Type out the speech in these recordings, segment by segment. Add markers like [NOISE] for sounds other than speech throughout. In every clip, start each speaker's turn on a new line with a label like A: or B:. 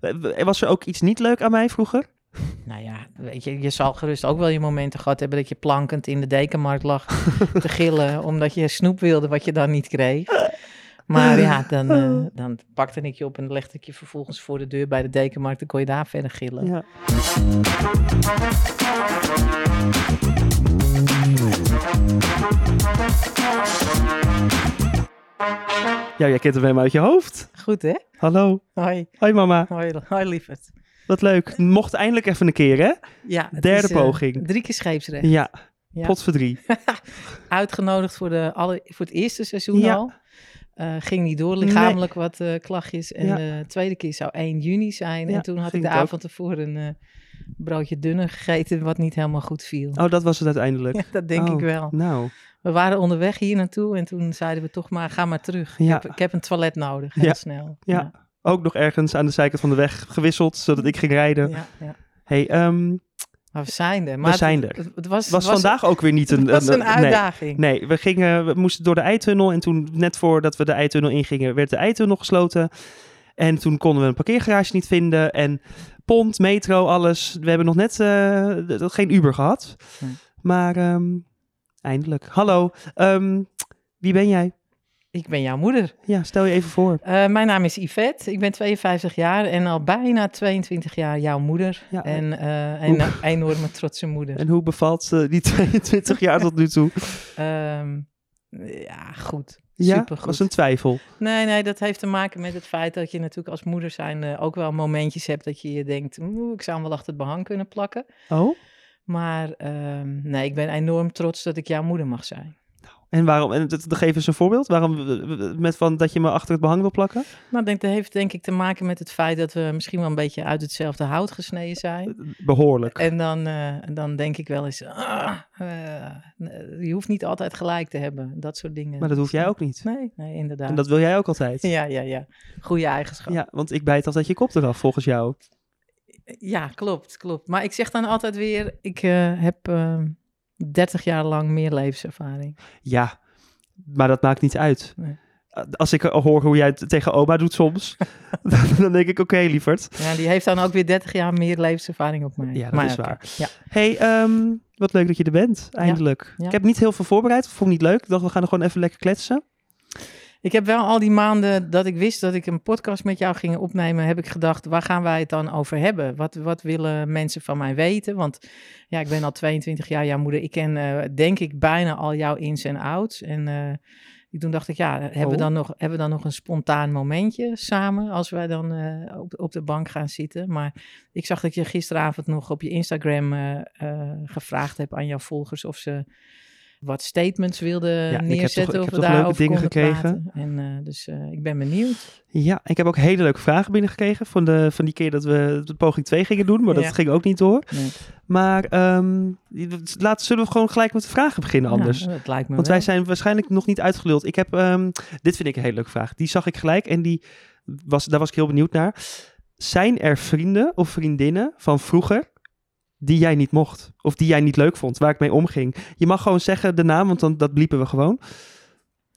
A: Eh, Was er ook iets niet leuk aan mij vroeger?
B: Nou ja, weet je, je zal gerust ook wel je momenten gehad hebben dat je plankend in de dekenmarkt lag
A: [LAUGHS]
B: te gillen. omdat je snoep wilde wat je dan niet kreeg. Maar ja,
A: [LAUGHS]
B: dan, eh, dan pakte ik je op en legde ik je vervolgens voor de deur bij de dekenmarkt. Dan kon je daar verder gillen.
A: Ja. Ja, jij kent hem helemaal uit je hoofd.
B: Goed hè?
A: Hallo.
B: Hoi,
A: Hoi mama.
B: hoi, hoi lieverd.
A: Wat leuk. Mocht eindelijk even een keer, hè?
B: Ja, het
A: Derde
B: is, eh,
A: poging.
B: Drie keer scheepsrecht.
A: Ja.
B: Ja.
A: Potverdrie.
B: Uitgenodigd voor, de alle, voor het eerste seizoen
A: Ja.
B: al. Eh, ging niet door, lichamelijk wat eh, klachtjes. En
A: Ja.
B: de tweede keer zou 1 juni zijn.
A: Ja,
B: en toen had ik
A: vind
B: de
A: ik ook.
B: avond ervoor een eh, broodje dunner gegeten, wat niet helemaal goed viel.
A: Oh, dat was het uiteindelijk.
B: [LAUGHS] Ja, dat denk ik
A: Oh,
B: wel.
A: Nou,
B: We waren onderweg hier naartoe en toen zeiden we toch maar, ga maar terug.
A: Ja.
B: Ik, heb, ik heb een toilet nodig, heel
A: Ja.
B: snel.
A: Ja. ook nog ergens aan de zijkant van de weg gewisseld, zodat ik ging
B: Ja,
A: rijden.
B: ja, ja.
A: hey, ehm,
B: Maar we zijn er. Maar het-
A: zijn er.
B: Het, het was,
A: het was, vandaag ook weer niet
B: het
A: een...
B: was een
A: nee.
B: uitdaging.
A: Nee, we, gingen, we moesten door de eitunnel. En toen, net voordat we de eitunnel ingingen, werd de eitunnel gesloten. En toen konden we een parkeergarage niet vinden. En pont, metro, alles. We hebben nog net eh, d- d- geen Uber gehad.
B: Hm.
A: Maar ehm, eindelijk. Hallo, ehm, wie ben jij?
B: Ik ben jouw moeder.
A: Ja, stel je even voor.
B: Eh, mijn naam is Yvette, ik ben 52 jaar en al bijna 22 jaar jouw moeder.
A: Ja,
B: En eh,
A: Oeh.
B: een enorme trotse moeder.
A: En hoe bevalt eh, die [LAUGHS] 22 jaar tot nu toe?
B: Ehm, ja, goed.
A: [LAUGHS] Ja,
B: Supergoed.
A: was een twijfel.
B: Nee, nee, dat heeft te maken met het feit dat je natuurlijk als moeder zijn eh, ook wel momentjes hebt dat je je denkt, "Oeh, ik zou hem wel achter het behang kunnen plakken.
A: Oh,
B: Maar ehm, nee, ik ben enorm trots dat ik jouw moeder mag zijn.
A: en waarom? En dat, dat geef eens een voorbeeld. Waarom eh, met van dat je me achter het behang wil plakken?
B: Nou, denk, dat heeft denk ik te maken met het feit dat we misschien wel een beetje uit hetzelfde hout gesneden zijn.
A: Behoorlijk.
B: En dan, eh, dan denk ik wel eens, ah, eh, je hoeft niet altijd gelijk te hebben, dat soort dingen.
A: Maar dat hoef jij ook niet.
B: Nee, nee inderdaad.
A: En dat wil jij ook altijd.
B: [LAUGHS] Ja, ja, ja. Goede eigenschap. Ja.
A: Ja, want ik bijt altijd je kop eraf, volgens jou.
B: klopt, klopt. Maar ik zeg dan altijd weer, ik eh, heb eh, 30 jaar lang meer levenservaring.
A: Ja, maar dat maakt niet uit. Eh,
B: Nee.
A: Als ik hoor hoe jij het tegen oma doet soms,
B: [LAUGHS]
A: [LAUGHS] dan denk ik, oké, lieverd.
B: Ja, die heeft dan ook weer 30 jaar meer levenservaring op mij.
A: Ja, dat
B: Maar
A: is
B: oké,
A: waar.
B: Ja.
A: hey, ehm, wat leuk dat je er bent, eindelijk.
B: ja.
A: Ik heb niet heel veel voorbereid, vond ik niet leuk. Ik dacht, we gaan er gewoon even lekker kletsen.
B: Ik heb wel al die maanden dat ik wist dat ik een podcast met jou ging opnemen, heb ik gedacht, waar gaan wij het dan over hebben? Wat, wat willen mensen van mij weten? Want ja, ik ben al 22 jaar jouw moeder. Ik ken, eh, denk ik, bijna al jouw ins en outs. En eh, toen dacht ik, ja, hebben, we
A: Oh.
B: dan nog, hebben we dan nog een spontaan momentje samen als wij dan eh, op, op de bank gaan zitten? Maar ik zag dat je gisteravond nog op je Instagram eh, eh, gevraagd hebt aan jouw volgers of ze wat statements wilden
A: ik heb toch-
B: neerzetten.
A: ik heb
B: of we
A: toch leuke
B: daarover
A: dingen
B: konden
A: gekregen.
B: praten. En, eh, dus eh, ik ben benieuwd.
A: Ja, ik heb ook hele leuke vragen binnengekregen van, de, van die keer dat we de poging 2 gingen doen, maar dat
B: Ja.
A: ging ook niet door.
B: Nee.
A: Maar ehm laten, zullen we gewoon gelijk met de vragen beginnen Nou, anders?
B: Ja, Nou, dat lijkt me
A: Want
B: wel.
A: wij zijn waarschijnlijk nog niet uitgeluld. Ik heb, ehm, dit vind ik een hele leuke vraag. Die zag ik gelijk en die was, daar was ik heel benieuwd naar. Zijn er vrienden of vriendinnen van vroeger die jij niet mocht? Of die jij niet leuk vond, waar ik mee omging? Je mag gewoon zeggen de naam, want dan, dat bliepen we gewoon.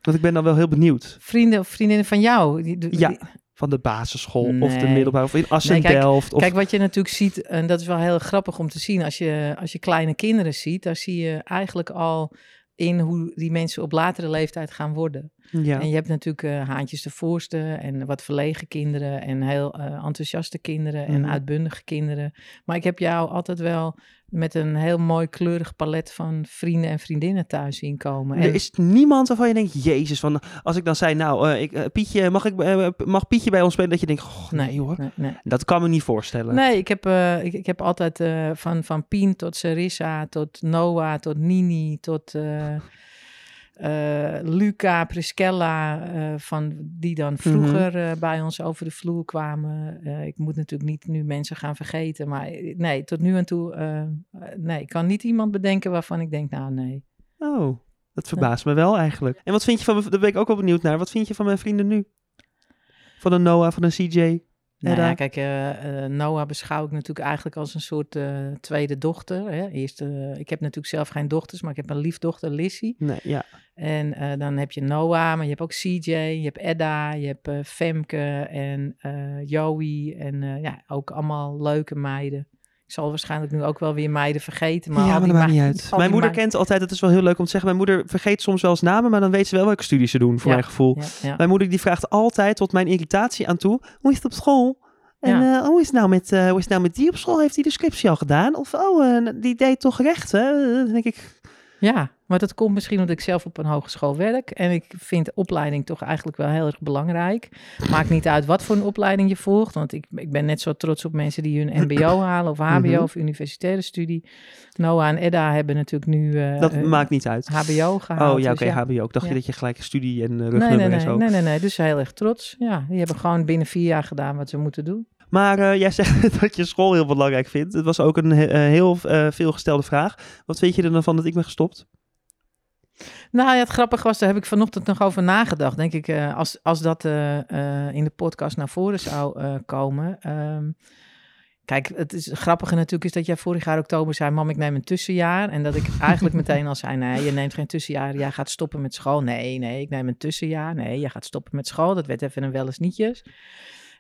A: Want ik ben dan wel heel benieuwd.
B: Vrienden of vriendinnen van jou? Die, die-
A: Ja,
B: die-
A: Van de basisschool of de
B: Nee.
A: middelbare of in Assen
B: Nee, kijk-
A: Delft. Of,
B: Kijk, wat je natuurlijk ziet, en dat is wel heel grappig om te zien, als je, als je kleine kinderen ziet, daar zie je eigenlijk al in hoe die mensen op latere leeftijd gaan worden.
A: ja.
B: En je hebt natuurlijk eh, haantjes de voorste en wat verlegen kinderen en heel eh, enthousiaste kinderen en
A: Mhm.
B: uitbundige kinderen. Maar ik heb jou altijd wel met een heel mooi kleurig palet van vrienden en vriendinnen thuis zien komen. En-
A: Er is niemand waarvan je denkt, jezus, van, als ik dan zei, nou, eh, ik, eh, Pietje, mag, ik, eh, mag Pietje bij ons spelen? Dat je denkt, goh, nee, hoor,
B: Nee, nee.
A: dat kan me niet voorstellen.
B: Nee, ik heb, eh, ik, ik heb altijd eh, van, van Pien tot Sarissa, tot Noah, tot Nini, tot eh, eh, Luca, Priscilla, eh, van die dan vroeger eh, bij ons over de vloer kwamen. Eh, ik moet natuurlijk niet nu mensen gaan vergeten, maar eh, nee, tot nu en toe, eh, eh, nee, ik kan niet iemand bedenken waarvan ik denk, nou nee.
A: Oh, dat verbaast me wel eigenlijk. En wat vind je van, mijn- daar ben ik ook wel benieuwd naar, wat vind je van mijn vrienden nu? Van een Noah, van een CJ?
B: Nou
A: Edda?
B: ja, kijk, eh, eh, Noah beschouw ik natuurlijk eigenlijk als een soort eh, tweede dochter. Hè. Eerst, eh, ik heb natuurlijk zelf geen dochters, maar ik heb een liefdochter, Lissy.
A: Nee, ja.
B: En eh, dan heb je Noah, maar je hebt ook CJ, je hebt Edda, je hebt eh, Femke en eh, Joey. En eh, ja, ook allemaal leuke meiden. Ik zal waarschijnlijk nu ook wel weer meiden vergeten. Maar
A: ja,
B: al
A: maar
B: die
A: dat maakt niet
B: ma-
A: uit.
B: al
A: Mijn
B: die
A: moeder
B: meiden-
A: kent altijd, dat is wel heel leuk om te zeggen. Mijn moeder vergeet soms wel eens namen, maar dan weet ze wel welke studie ze doen, voor
B: Ja,
A: mijn gevoel.
B: Ja, ja.
A: Mijn moeder die vraagt altijd tot mijn irritatie aan toe: hoe is het op school? En eh, hoe, is het nou met, eh, hoe is het nou met die op school? Heeft die de scriptie al gedaan? Of oh, eh, die deed toch recht, hè? Eh, dan denk ik,
B: Ja, maar dat komt misschien omdat ik zelf op een hogeschool werk. En ik vind opleiding toch eigenlijk wel heel erg belangrijk. Maakt niet uit wat voor een opleiding je volgt. Want ik, ik ben net zo trots op mensen die hun mbo
A: [CLEARS THROAT]
B: halen of hbo
A: Mhm.
B: of universitaire studie. Noah en Edda hebben natuurlijk nu eh,
A: dat
B: hun
A: maakt niet uit.
B: hbo gehaald.
A: Oh ja, oké,
B: dus
A: HBO. Ik dacht
B: Ja.
A: je dat je gelijk studie en eh, rugnummer
B: Nee nee, nee,
A: en zo.
B: nee, nee, nee. Dus heel erg trots. Ja, die hebben gewoon binnen vier jaar gedaan wat ze moeten doen.
A: Maar eh, jij zegt [LAUGHS] dat je school heel belangrijk vindt. Het was ook een he- eh, heel eh, veelgestelde vraag. Wat vind je er dan van dat ik ben gestopt?
B: Nou ja, het grappige was, daar heb ik vanochtend nog over nagedacht. Denk ik, eh, als, als dat eh, eh, in de podcast naar voren zou eh, komen. ehm, kijk, het is grappige natuurlijk is dat jij vorig jaar oktober zei... mam, ik neem een tussenjaar. En dat ik eigenlijk meteen al zei... nee, je neemt geen tussenjaar, jij gaat stoppen met school. Nee, nee, ik neem een tussenjaar. Nee, jij gaat stoppen met school. Dat werd even een wel eens nietjes.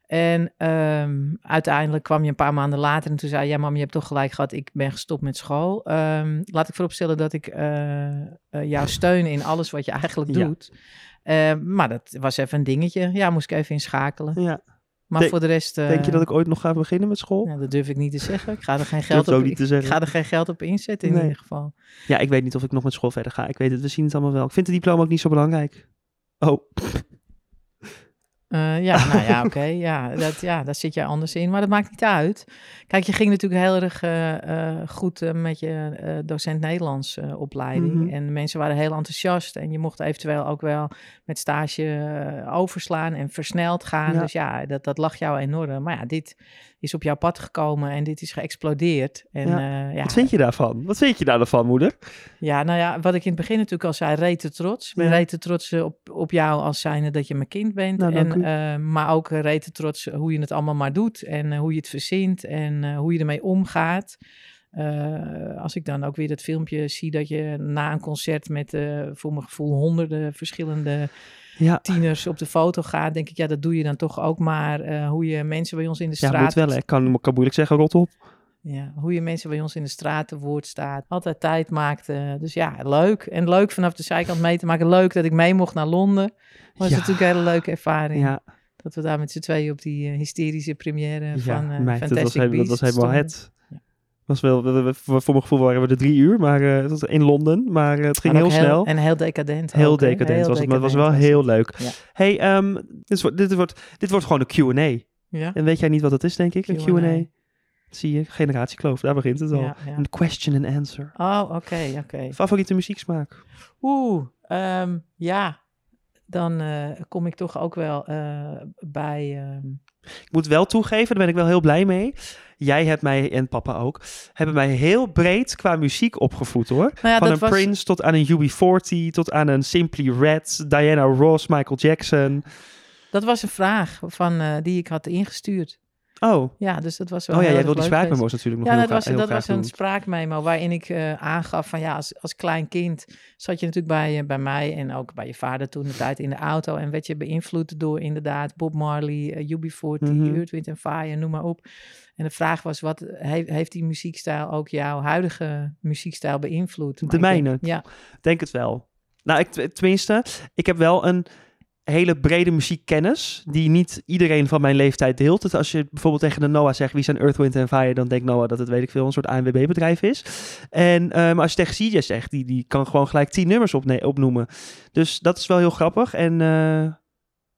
B: En ehm, uiteindelijk kwam je een paar maanden later en toen zei je... ja, mam, je hebt toch gelijk gehad, ik ben gestopt met school. Ehm, laat ik vooropstellen dat ik eh, eh, jou steunen in alles wat je eigenlijk
A: Ja.
B: doet. Eh, maar dat was even een dingetje. Ja, moest ik even inschakelen.
A: Ja.
B: Maar
A: Denk-
B: voor de rest... eh,
A: Denk je dat ik ooit nog ga beginnen met school?
B: nou, dat durf ik niet te zeggen. Ik
A: [LAUGHS]
B: ga er geen
A: durf
B: geld
A: het ook
B: op,
A: niet te
B: ik- ik
A: zeggen.
B: ga er geen geld op inzetten in
A: Nee.
B: ieder geval.
A: Ja, ik weet niet of ik nog met school verder ga. Ik weet het, we zien het allemaal wel. Ik vind het diploma ook niet zo belangrijk. Oh,
B: Eh, ja, nou ja, oké. [LAUGHS] ja, dat, ja, daar zit jij anders in. Maar dat maakt niet uit. Kijk, je ging natuurlijk heel erg eh, eh, goed eh, met je eh, docent Nederlands eh, opleiding.
A: Mhm.
B: En de mensen waren heel enthousiast. En je mocht eventueel ook wel met stage eh, overslaan en versneld gaan.
A: Ja.
B: Dus ja, dat, dat lag jou enorm. Maar ja, dit is op jouw pad gekomen en dit is geëxplodeerd. En,
A: Ja.
B: eh, ja,
A: wat vind je daarvan? Wat vind je daar dan van, moeder?
B: ja, nou ja, wat ik in het begin natuurlijk al zei, rete trots. Ik ben
A: Ja.
B: rete trots eh, op, op jou als zijnde dat je mijn kind bent.
A: Nou, dank
B: en,
A: u.
B: eh, maar ook eh, rete trots hoe je het allemaal maar doet en eh, hoe je het verzint en eh, hoe je ermee omgaat. Eh, als ik dan ook weer dat filmpje zie dat je na een concert met eh, voor mijn gevoel honderden verschillende
A: Ja,
B: tieners op de foto gaat, denk ik, ja, dat doe je dan toch ook maar. eh, hoe je mensen bij ons in de straat
A: ja moet wel. hè. Ik kan, kan moeilijk zeggen, rot op.
B: ja, hoe je mensen bij ons in de straat te woord staat. Altijd tijd maakte. Dus ja, leuk. En leuk vanaf de zijkant mee te maken. Leuk dat ik mee mocht naar Londen. Was
A: Ja.
B: natuurlijk een hele leuke ervaring.
A: Ja,
B: Dat we daar met z'n tweeën op die eh, hysterische première
A: ja
B: van eh
A: meid, dat was,
B: Fantastic
A: helemaal- dat was
B: Beasts
A: helemaal
B: stonden.
A: het. Was wel, we- we- voor voor mijn gevoel waren we er drie uur maar, eh, het was in Londen, maar eh, het ging
B: Maar
A: heel
B: ook
A: snel.
B: En heel decadent.
A: Heel
B: ook, hè.
A: decadent
B: Heel
A: was het, maar het was wel
B: decadent
A: heel leuk.
B: Ja.
A: Hey, ehm, dit, wordt, dit, wordt, dit wordt gewoon een Q&A.
B: Ja.
A: En weet jij niet wat dat is, denk ik? Een
B: Q&A.
A: Q&A. Zie je, generatiekloof, daar begint het al.
B: Ja, ja.
A: Een question and answer.
B: Oh, oké, oké.
A: Favoriete muzieksmaak?
B: Oeh, ehm, ja. Dan eh, kom ik toch ook wel eh, bij... ehm,
A: Ik moet wel toegeven, daar ben ik wel heel blij mee. Jij hebt mij, en papa ook, hebben mij heel breed qua muziek opgevoed hoor.
B: Nou ja,
A: Van
B: dat
A: een
B: was-
A: Prince tot aan een UB40, tot aan een Simply Red, Diana Ross, Michael
B: Oh,
A: Jackson.
B: dat was een vraag van, eh, die ik had ingestuurd.
A: Oh, oh
B: Ja, dus dat was wel.
A: ja,
B: heel
A: jij
B: erg
A: wil die
B: leuk geweest.
A: spraakmemo's natuurlijk nog
B: Ja,
A: heel,
B: dat
A: gra-
B: was,
A: heel
B: dat
A: graag
B: was een
A: doen.
B: spraakmemo waarin ik eh, aangaf van ja, als, als klein kind zat je natuurlijk bij, eh, bij mij en ook bij je vader toen de tijd in de auto en werd je beïnvloed door inderdaad Bob Marley, eh, UB40,
A: Mhm.
B: Earth, Wind and Fire, noem maar op. En de vraag was, wat he- heeft die muziekstijl ook jouw huidige muziekstijl beïnvloed? Maar
A: De
B: ik denk-
A: mijne.
B: Ja,
A: Denk het wel. Nou, ik, tenminste, ik heb wel een hele brede muziekkennis die niet iedereen van mijn leeftijd deelt. Dus als je bijvoorbeeld tegen de Noah zegt wie zijn Earth, Wind en Fire, dan denkt Noah dat het weet ik veel een soort ANWB bedrijf is. En eh, maar als je tegen CJ zegt, die, die kan gewoon gelijk tien nummers opne- opnoemen. Dus dat is wel heel grappig. En eh,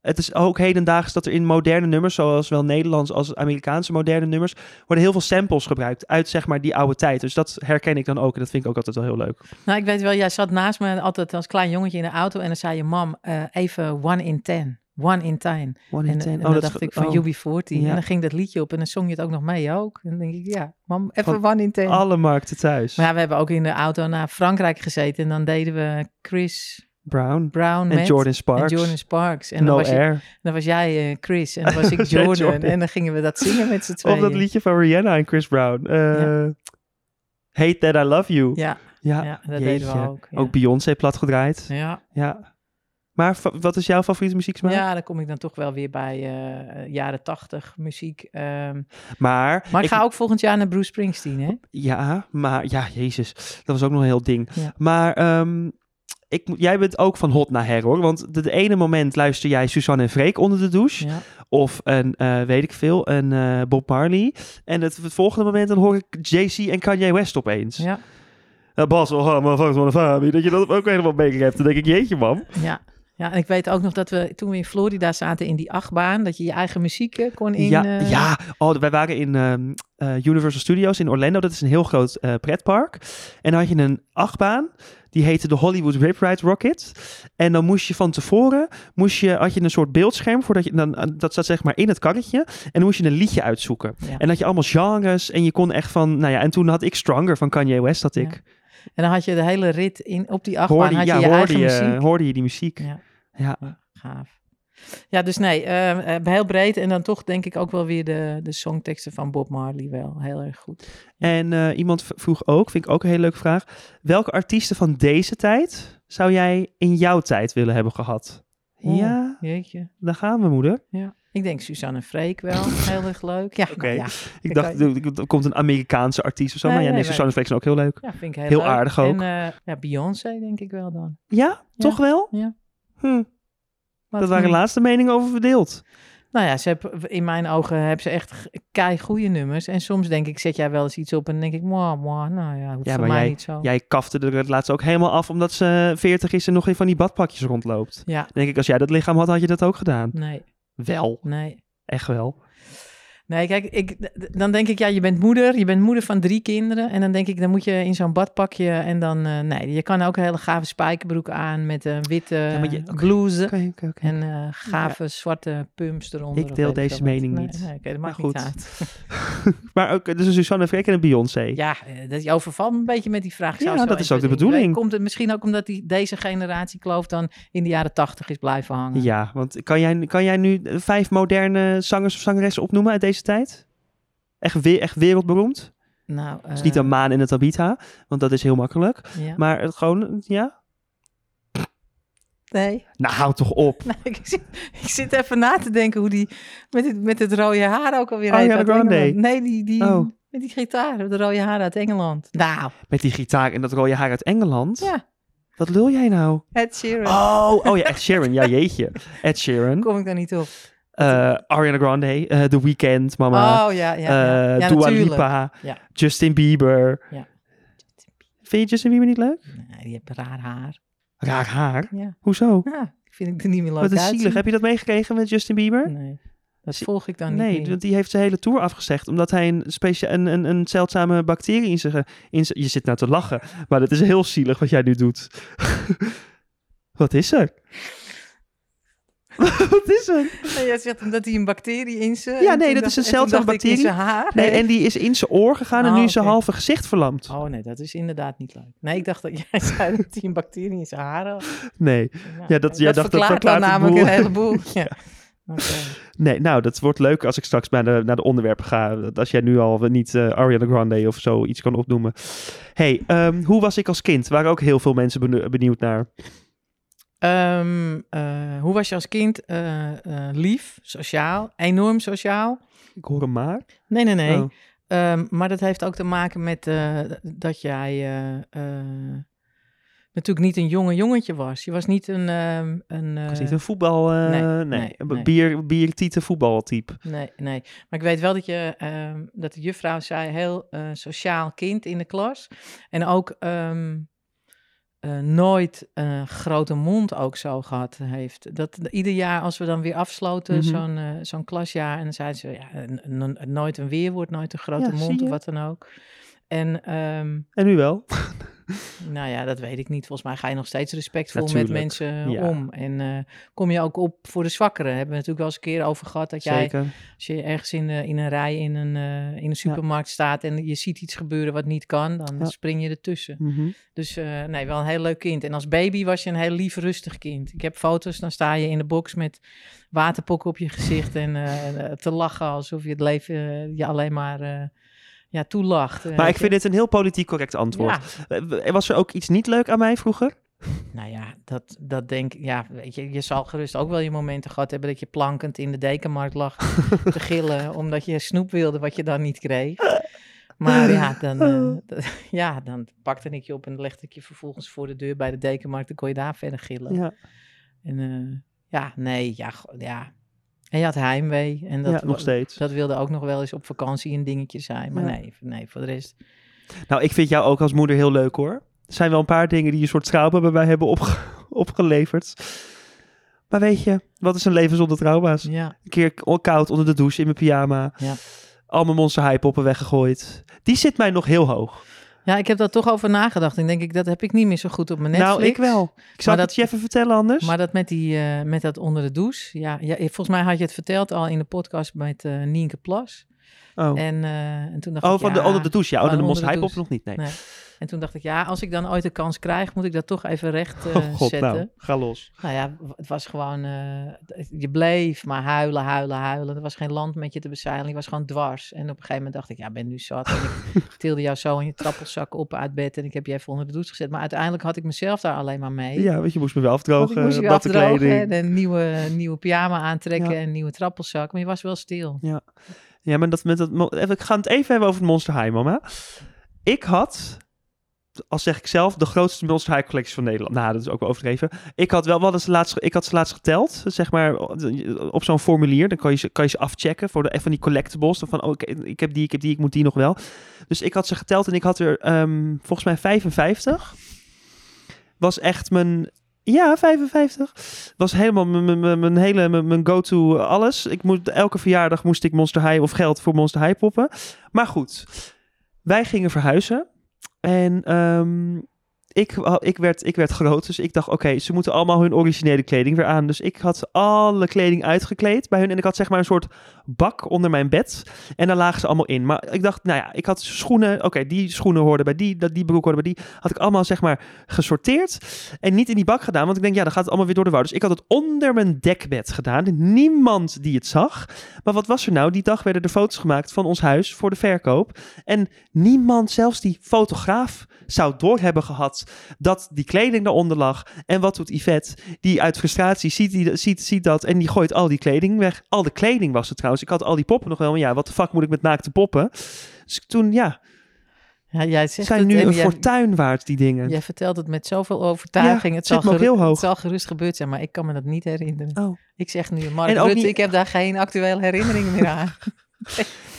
A: het is ook hedendaags dat er in moderne nummers, zoals wel Nederlands als Amerikaanse moderne nummers, worden heel veel samples gebruikt uit zeg maar die oude tijd. Dus dat herken ik dan ook en dat vind ik ook altijd wel heel leuk.
B: nou ik weet wel, jij zat naast me altijd als klein jongetje in de auto en dan zei je mam, eh, even one in ten, one in ten.
A: One Oh,
B: En, en dan dacht ik van
A: Jubi.
B: UB40.
A: Ja.
B: En dan ging dat liedje op en dan zong je het ook nog mee ook. En dan denk ik, ja, mam, even
A: Van
B: one in ten.
A: Alle markten thuis.
B: Maar ja, we hebben ook in de auto naar Frankrijk gezeten. En dan deden we Chris
A: Brown.
B: Brown
A: En
B: met
A: Jordan Sparks.
B: en Jordan Sparks. En
A: no
B: dan, was ik-
A: Air.
B: dan was jij eh, Chris
A: [LAUGHS]
B: en dan was ik Jordan,
A: Jordan.
B: En dan gingen we dat zingen met z'n tweeën.
A: Of dat liedje van Rihanna en Chris Brown. Eh, Hate That I Love You.
B: Ja,
A: Ja,
B: ja, dat deden we
A: jeetje.
B: ook. Ja.
A: Ook Beyoncé plat gedraaid. Ja.
B: ja.
A: Maar fa- wat is jouw favoriete muzieksmaak?
B: ja, dan kom ik dan toch wel weer bij eh, jaren tachtig muziek. ehm.
A: Maar,
B: maar ik,
A: ik-
B: ga ook volgend jaar naar Bruce Springsteen, hè?
A: Ja, maar ja, jezus, dat was ook nog een heel ding.
B: Ja.
A: Maar ehm, ik, moet- jij bent ook van hot naar her, hoor. Want de, de ene moment luister jij Suzanne en Freek onder de douche.
B: Ja.
A: Of een, eh, weet ik veel, een eh, Bob Marley. En het, het volgende moment dan hoor ik Jay-Z en Kanye West opeens.
B: Ja.
A: Eh, Bas, oh, man, fuck, man, Fabi. Dat je dat ook helemaal mee hebt. Dan denk ik, jeetje, man.
B: Ja. ja, en ik weet ook nog dat we toen we in Florida zaten in die achtbaan, dat je je eigen muziek eh, kon in.
A: ja,
B: eh,
A: ja. Oh, wij waren in ehm, eh, Universal Studios in Orlando. Dat is een heel groot eh, pretpark. En dan had je een achtbaan. Die heette de Hollywood Rip Ride Rocket. En dan moest je van tevoren... Moest je, had je een soort beeldscherm. Voordat je, dan, eh, dat zat zeg maar in het karretje. En dan moest je een liedje uitzoeken.
B: Ja.
A: En dat je allemaal genres. En je kon echt van... Nou ja, en toen had ik Stronger van Kanye West. Had
B: Ja.
A: ik.
B: En dan had je de hele rit in, op die achtbaan,
A: Hoorde,
B: had je
A: ja,
B: je
A: hoorde,
B: eigen
A: je,
B: muziek.
A: hoorde je die eh, muziek.
B: Ja.
A: Ja.
B: Gaaf. Ja, dus nee, eh, eh, heel breed. En dan toch denk ik ook wel weer de, de songteksten van Bob Marley wel heel erg goed.
A: En eh, iemand v- vroeg ook, vind ik ook een hele leuke vraag. Welke artiesten van deze tijd zou jij in jouw tijd willen hebben gehad?
B: Oh.
A: Ja,
B: Jeetje.
A: daar gaan we, moeder.
B: Ja. Ik denk Suzanne Freek wel heel erg leuk. Ja, nou
A: Oké.
B: ja.
A: Ik
B: Ik
A: dacht,
B: kan-
A: er- er komt een Amerikaanse artiest of zo.
B: Nee,
A: maar ja, nee,
B: nee,
A: nee,
B: nee.
A: Suzanne Freek is ook heel leuk.
B: ja, vind ik heel,
A: Heel
B: leuk.
A: aardig ook.
B: En eh, ja, Beyoncé denk ik wel dan.
A: Ja, toch wel?
B: Ja.
A: Hm,
B: Wat
A: dat waren
B: een-
A: laatste meningen over verdeeld.
B: Nou ja, ze heb, in mijn ogen hebben ze echt kei goede nummers. En soms denk ik, zet jij wel eens iets op en denk ik, mwah, mwah, nou ja, hoeft
A: Ja,
B: voor
A: maar
B: mij
A: jij-
B: niet zo.
A: Jij kafte er het laatst ook helemaal af omdat ze 40 is en nog in van die badpakjes rondloopt.
B: Ja,
A: Dan denk ik, als jij dat lichaam had, had je dat ook gedaan.
B: nee,
A: Wel,
B: nee.
A: echt wel.
B: Nee, kijk, ik, d- dan denk ik, ja, je bent moeder, je bent moeder van drie kinderen. En dan denk ik, dan moet je in zo'n badpakje en dan, eh, nee, je kan ook een hele gave spijkerbroek aan met een witte
A: maar je- oké.
B: blouse.
A: Oké, oké, oké.
B: En eh, gave zwarte pumps eronder.
A: Ik
B: of
A: deel
B: weet
A: deze
B: veel wat.
A: mening
B: Nee,
A: niet.
B: Nee, oké, dat maakt
A: Maar
B: niet
A: goed.
B: uit.
A: Maar ook, eh, dus een Suzanne Freek en een Beyoncé.
B: Ja, eh, dat, je overvalt me een beetje met die vraag. Ik zou
A: Ja,
B: zo
A: dat is
B: even
A: ook de
B: denken,
A: bedoeling.
B: Komt het misschien ook omdat die, deze generatie kloof dan in de jaren tachtig is blijven hangen?
A: Ja, want kan jij, kan jij nu eh, vijf moderne zangers of zangeressen opnoemen uit deze tijd? Echt, we- echt wereldberoemd? Het
B: Nou,
A: is
B: eh,
A: niet een maan in het Tabitha, want dat is heel makkelijk.
B: ja.
A: Maar het gewoon, ja?
B: Nee,
A: Nou, hou toch op.
B: nee [LAUGHS] ik, zit, ik zit even na te denken hoe die met het, met het rode haar ook alweer
A: Ariana
B: heet uit
A: Oh, Grande.
B: Engeland. Nee, die, die
A: Oh.
B: met die gitaar, met de rode haar uit Engeland. Nou,
A: Met die gitaar en dat rode haar uit Engeland.
B: ja,
A: Wat lul jij nou?
B: Ed Sheeran.
A: Oh, oh ja, Ed Sheeran. Ja, jeetje. Ed Sheeran.
B: Kom ik daar niet op.
A: eh, Ariana Grande. eh The Weeknd, mama.
B: oh ja, ja,
A: eh
B: ja. ja
A: Dua
B: natuurlijk.
A: Lipa.
B: Ja.
A: Justin Bieber.
B: Ja.
A: Vind je Justin Bieber niet leuk?
B: Nee, die hebt raar haar.
A: Raar haar.
B: Ja,
A: Hoezo?
B: nou, vind ik er niet meer leuk
A: Wat een
B: uitzien.
A: zielig. Heb je dat meegekregen met Justin Bieber?
B: Nee, dat
A: Zie-
B: volg ik dan niet
A: Nee,
B: meer.
A: want die heeft zijn hele tour afgezegd. Omdat hij een, specia- een, een, een zeldzame bacterie in zijn... ge- in zijn- Je zit nou te lachen. Maar dat is heel zielig wat jij nu doet. [LAUGHS] wat is er? [LAUGHS] wat is er?
B: Nee, jij zegt omdat hij een bacterie in zijn...
A: Ja,
B: en
A: nee,
B: toen
A: dat is
B: dacht-
A: een
B: en toen
A: zeldzame
B: dacht ik in
A: bacterie.
B: zijn haar.
A: Nee, en die is in zijn oor gegaan en
B: Ah,
A: nu is zijn
B: oké.
A: halve gezicht verlamd.
B: Oh nee, dat is inderdaad niet leuk. Nee, ik dacht dat jij [LAUGHS] zei dat hij een bacterie in zijn haar had.
A: Nee.
B: Nou,
A: Ja, dat- jij dacht, dat verklaart
B: dan
A: het
B: namelijk
A: boel.
B: een heleboel.
A: [LAUGHS]
B: Ja. Oké.
A: nee, nou, dat wordt leuk als ik straks naar de, naar de onderwerpen ga. Dat Als jij nu al niet eh, Ariana Grande of zo iets kan opnoemen. hey, ehm, hoe was ik als kind? Waren ook heel veel mensen benieu- benieuwd naar.
B: Ehm, eh, hoe was je als kind? Eh, eh, lief, sociaal, enorm sociaal.
A: Ik hoor hem maar.
B: Nee, nee, nee.
A: Oh.
B: Ehm, maar dat heeft ook te maken met eh, dat jij eh, eh, natuurlijk niet een jonge jongetje was. Je was niet een... ehm, een
A: Ik was
B: eh,
A: niet een voetbal... eh,
B: nee,
A: nee,
B: nee,
A: een
B: nee.
A: Bier, biertieten voetbaltype.
B: Nee, nee. Maar ik weet wel dat, je, ehm, dat de juffrouw zei, heel eh, sociaal kind in de klas. En ook ehm, eh, nooit een grote mond ook zo gehad heeft. Dat ieder jaar als we dan weer afsloten,
A: Mhm.
B: zo'n, eh, zo'n klasjaar, en dan zeiden ze, ja, n- n- nooit een weerwoord, nooit een grote
A: Ja, zie
B: mond
A: je.
B: of wat dan ook. En ehm,
A: En nu wel.
B: Nou ja, dat weet ik niet. Volgens mij ga je nog steeds respectvol met
A: Natuurlijk,
B: mensen
A: ja.
B: om. En eh, kom je ook op voor de zwakkeren. Hebben we natuurlijk wel eens een keer over gehad. Dat jij,
A: Zeker.
B: als je ergens in, eh, in een rij in een, eh, in een supermarkt staat en je ziet iets gebeuren wat niet kan, dan
A: Ja.
B: spring je ertussen.
A: Mhm.
B: Dus eh, nee, wel een heel leuk kind. En als baby was je een heel lief, rustig kind. Ik heb foto's, dan sta je in de box met waterpokken op je gezicht en eh, te lachen alsof je het leven eh, je alleen maar eh ja, toelacht. eh,
A: Maar ik vind dit een heel politiek correct antwoord. Eh, Was er ook iets niet leuk aan mij vroeger?
B: Nou ja, dat, dat denk ik. Ja, weet je, je zal gerust ook wel je momenten gehad hebben dat je plankend in de dekenmarkt lag
A: [LAUGHS]
B: te gillen. omdat je snoep wilde wat je dan niet kreeg. Maar ja, dan, eh,
A: [LAUGHS]
B: dat- [LAUGHS] ja, dan pakte ik je op en legde ik je vervolgens voor de deur bij de dekenmarkt. Dan kon je daar verder gillen.
A: Ja,
B: En eh, ja, nee, ja, go- ja. En je had heimwee. En dat,
A: ja nog
B: wa-
A: steeds.
B: dat wilde ook nog wel eens op vakantie een dingetje zijn. Maar
A: Ja.
B: nee, nee, voor de rest.
A: Nou, ik vind jou ook als moeder heel leuk hoor. Er zijn wel een paar dingen die een soort trauma bij mij hebben opge- [LAUGHS] opgeleverd. Maar weet je, wat is een leven zonder trauma's?
B: Ja,
A: Een keer k- koud onder de douche in mijn pyjama.
B: Ja.
A: Al mijn monster hypoppen weggegooid. Die zit mij nog heel hoog.
B: ja ik heb daar toch over nagedacht. En denk ik, dat heb ik niet meer zo goed op mijn Netflix.
A: Nou, ik wel. Ik zal
B: Maar
A: het je even vertellen anders.
B: Maar dat met, die, eh, met dat onder de douche. Ja, ja, eh, volgens mij had je het verteld al in de podcast met eh, Nienke Plas.
A: oh,
B: En, eh, en toen dacht
A: oh
B: ik,
A: van
B: ja,
A: de onder de douche. Ja, oh,
B: van
A: dan de
B: onder
A: monster
B: de
A: hypop nog niet. Nee.
B: Nee. En toen dacht ik, ja, als ik dan ooit de kans krijg, moet ik dat toch even recht
A: [LAUGHS]
B: eh,
A: oh god,
B: zetten.
A: nou, ga los.
B: Nou ja, w- het was gewoon, eh, je bleef maar huilen, huilen, huilen. Er was geen land met je te bezeilen, je was gewoon dwars. En op een gegeven moment dacht ik, ja, ik ben nu zat. En ik
A: [LAUGHS]
B: tilde jou zo in je trappelzak op uit bed en ik heb je even onder de douche gezet. Maar uiteindelijk had ik mezelf daar alleen maar mee.
A: Ja, want je moest me wel
B: Want
A: afdrogen.
B: ik moest je weer
A: natte
B: afdrogen
A: kleding.
B: en een nieuwe, nieuwe pyjama aantrekken
A: Ja.
B: en een nieuwe trappelzak. Maar je was wel stil.
A: Ja, maar dat met dat. mo- even- Ik ga het even hebben over het Monster High, mama. Ik had, als zeg ik zelf, de grootste Monster High collectie van Nederland. Nou, dat is ook wel overdreven. Ik had wel, wat is laatst, ik had ze laatst geteld, zeg maar, op zo'n formulier. Dan kan je ze, kan je ze afchecken voor de, van die collectibles. Dan van, oh, ik, ik heb die, ik heb die, ik moet die nog wel. Dus ik had ze geteld en ik had er ehm, volgens mij 55. Was echt mijn. Ja, 55. Was helemaal mijn- mijn- mijn mijn hele mijn- mijn go-to eh, alles. Ik moest, elke verjaardag moest ik Monster High of geld voor Monster High poppen. Maar goed, wij gingen verhuizen. En ehm, ik, ik, werd, ik werd groot. Dus ik dacht, oké, ze moeten allemaal hun originele kleding weer aan. Dus ik had alle kleding uitgekleed bij hun. En ik had zeg maar een soort bak onder mijn bed. En daar lagen ze allemaal in. Maar ik dacht, nou ja, ik had schoenen. Oké, die schoenen hoorden bij die. dat- Die broek hoorde bij die. Had ik allemaal zeg maar gesorteerd. En niet in die bak gedaan. Want ik denk, ja, dan gaat het allemaal weer door de war. Dus ik had het onder mijn dekbed gedaan. Niemand die het zag. Maar wat was er nou? Die dag werden er foto's gemaakt van ons huis voor de verkoop. En niemand, zelfs die fotograaf, zou door hebben gehad dat die kleding daaronder lag. En wat doet Yvette? Die uit frustratie ziet, die, ziet, ziet dat en die gooit al die kleding weg. Al de kleding was het trouwens. Ik had al die poppen nog wel. Maar ja, wat de fuck moet ik met naakte poppen? Dus toen, ja,
B: Ja, jij
A: ze
B: zegt
A: zijn
B: het
A: nu
B: en
A: een
B: jij-
A: fortuin waard, die dingen.
B: Jij vertelt het met zoveel overtuiging.
A: Ja, het
B: het, zal
A: zit me ook
B: geru-
A: heel hoog.
B: het zal gerust gebeurd zijn, maar ik kan me dat niet herinneren.
A: Oh.
B: Ik zeg nu, Mark
A: En ook
B: Rutte,
A: niet-
B: ik heb daar geen actuele herinnering meer aan.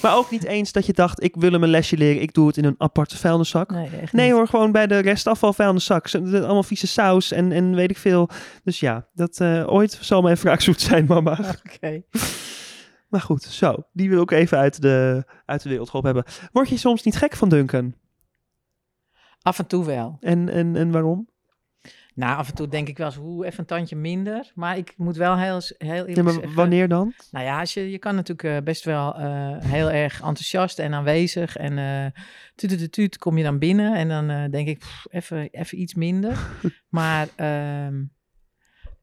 A: Maar ook niet eens dat je dacht, ik wil hem een lesje leren. Ik doe het in een aparte vuilniszak.
B: Nee,
A: [LAUGHS]
B: echt
A: Nee
B: niet.
A: hoor, gewoon bij de restafvalvuilniszak. Ze- de- Allemaal vieze saus en, en weet ik veel. Dus ja, dat eh, ooit zal mijn vraag zoet zijn, mama.
B: [LAUGHS] Oké.
A: Maar goed, zo. Die wil ik even uit de, uit de wereld geholpen hebben. Word je soms niet gek van Duncan?
B: Af en toe wel.
A: En, en, en waarom?
B: Nou, af en toe denk ik wel eens, hoe even een tandje minder. Maar ik moet wel heel, heel eerlijk
A: Ja, maar
B: zeggen-
A: wanneer dan?
B: Nou ja, als je, je kan natuurlijk eh, best wel eh, heel erg enthousiast en aanwezig. En eh tuut kom je dan binnen. En dan eh, denk ik, pff, even, even iets
A: [LAUGHS]
B: minder. maar ehm,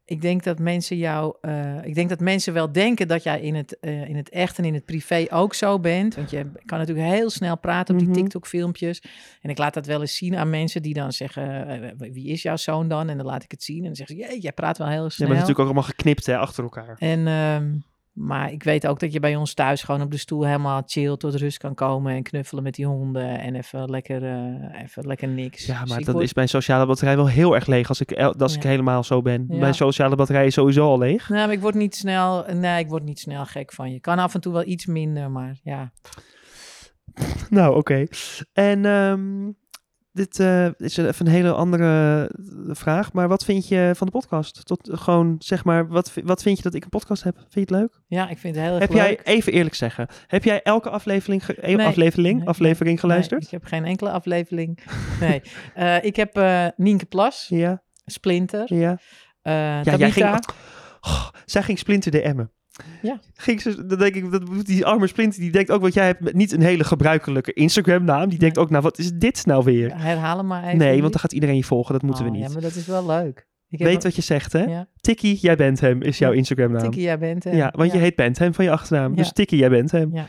B: ik denk dat mensen jou... eh, ik denk dat mensen wel denken dat jij in het, eh, in het echt en in het privé ook zo bent. Want je kan natuurlijk heel snel praten op die
A: Mhm.
B: TikTok-filmpjes. En ik laat dat wel eens zien aan mensen die dan zeggen... eh, wie is jouw zoon dan? En dan laat ik het zien. En dan zeggen ze, jee, jij praat wel heel
A: Ja,
B: snel.
A: maar het is natuurlijk ook allemaal geknipt hè, achter elkaar.
B: En, ehm, maar ik weet ook dat je bij ons thuis gewoon op de stoel helemaal chill tot rust kan komen en knuffelen met die honden en even lekker, eh, even lekker niks.
A: Ja,
B: Dus
A: maar
B: ik
A: dan
B: word-
A: is mijn sociale batterij wel heel erg leeg als ik, el- als ik
B: Ja.
A: helemaal zo ben.
B: Ja.
A: Mijn sociale batterij is sowieso al leeg.
B: Nou, maar ik word niet snel, nee, ik word niet snel gek van je. Kan af en toe wel iets minder, maar ja.
A: Nou, oké. En ehm, Dit eh, is even een hele andere eh, vraag. Maar wat vind je van de podcast? Tot eh, gewoon zeg maar, wat, vi- wat vind je dat ik een podcast heb? Vind je het leuk?
B: Ja, ik vind het heel erg
A: Heb
B: leuk.
A: jij, even eerlijk zeggen, heb jij elke aflevering, ge- eh,
B: Nee.
A: aflevering,
B: Nee,
A: aflevering
B: Nee,
A: geluisterd?
B: ik heb geen enkele aflevering.
A: [LAUGHS]
B: Nee. Eh, ik heb eh Nienke Plas,
A: Ja,
B: Splinter, eh
A: ja. Ja, jij
B: Tabitha.
A: ging, Oh, zij ging Splinter de Emmen.
B: Ja.
A: Ging ze, dan denk ik, dat moet die arme Splinter, die denkt ook wat jij hebt, met niet een hele gebruikelijke Instagram-naam. Die denkt ook, nou, wat is dit nou weer?
B: Herhaal hem maar even.
A: nee, want
B: Nienke.
A: dan gaat iedereen je volgen, dat moeten
B: Oh,
A: we
B: Ja,
A: niet.
B: maar dat is wel leuk. Ik heb
A: Weet
B: een-
A: wat je zegt, hè?
B: Ja,
A: Tikkie, jij bent hem, is jouw Instagram-naam.
B: Tikkie, jij bent hè?
A: Ja, want je heet Bent hem van je achternaam.
B: Ja.
A: Dus Tikkie, jij bent hem.
B: Ja.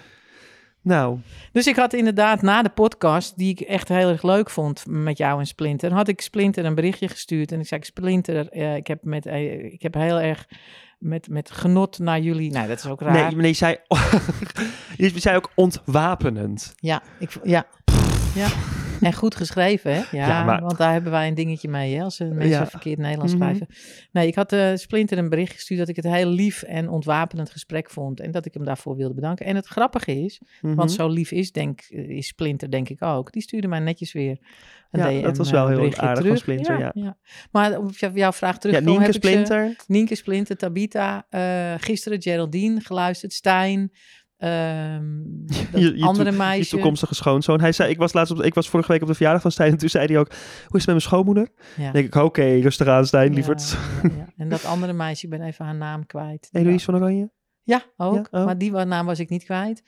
A: Nou,
B: Dus ik had inderdaad na de podcast, die ik echt heel erg leuk vond met jou en Splinter, had ik Splinter een berichtje gestuurd. En ik zei, Splinter, eh, ik, heb met, eh, ik heb heel erg met, met genot naar jullie. Nou, dat is ook raar.
A: nee, nee, zij, [LAUGHS] je zei ook ontwapenend.
B: Ja, ik, v- ja. ja. En goed geschreven, hè? Ja,
A: Ja, maar-
B: want daar hebben wij een dingetje mee, hè? Als eh, mensen
A: Ja.
B: verkeerd Nederlands
A: Mhm.
B: schrijven. Nee, ik had eh, Splinter een bericht gestuurd dat ik het heel lief en ontwapenend gesprek vond. En dat ik hem daarvoor wilde bedanken. En het grappige is,
A: Mhm.
B: want zo lief is, denk, eh, is Splinter denk ik ook. Die stuurde mij netjes weer een
A: Ja,
B: DM,
A: dat was wel
B: eh,
A: heel
B: berichtje
A: aardig van
B: terug.
A: Splinter, ja.
B: Maar om jou- jouw vraag terug
A: ja,
B: te komen,
A: Nienke
B: heb ik ze-
A: Splinter.
B: Nienke Splinter, Tabita, eh, gisteren Geraldine geluisterd, Stijn, ehm, dat
A: [LAUGHS] Je- je to-
B: andere
A: Je
B: meisje.
A: toekomstige schoonzoon. Hij zei, ik was, laatst op, ik was vorige week op de verjaardag van Stijn en toen zei hij ook, hoe is het met mijn schoonmoeder?
B: Ja.
A: Dan denk ik, oké, rustig aan Stijn, lieverd.
B: Ja, ja, ja. En dat andere meisje, ik ben even haar naam kwijt.
A: Eloïse van Oranje?
B: Ja, ook.
A: Ja, oh.
B: Maar die wa- naam was ik niet kwijt.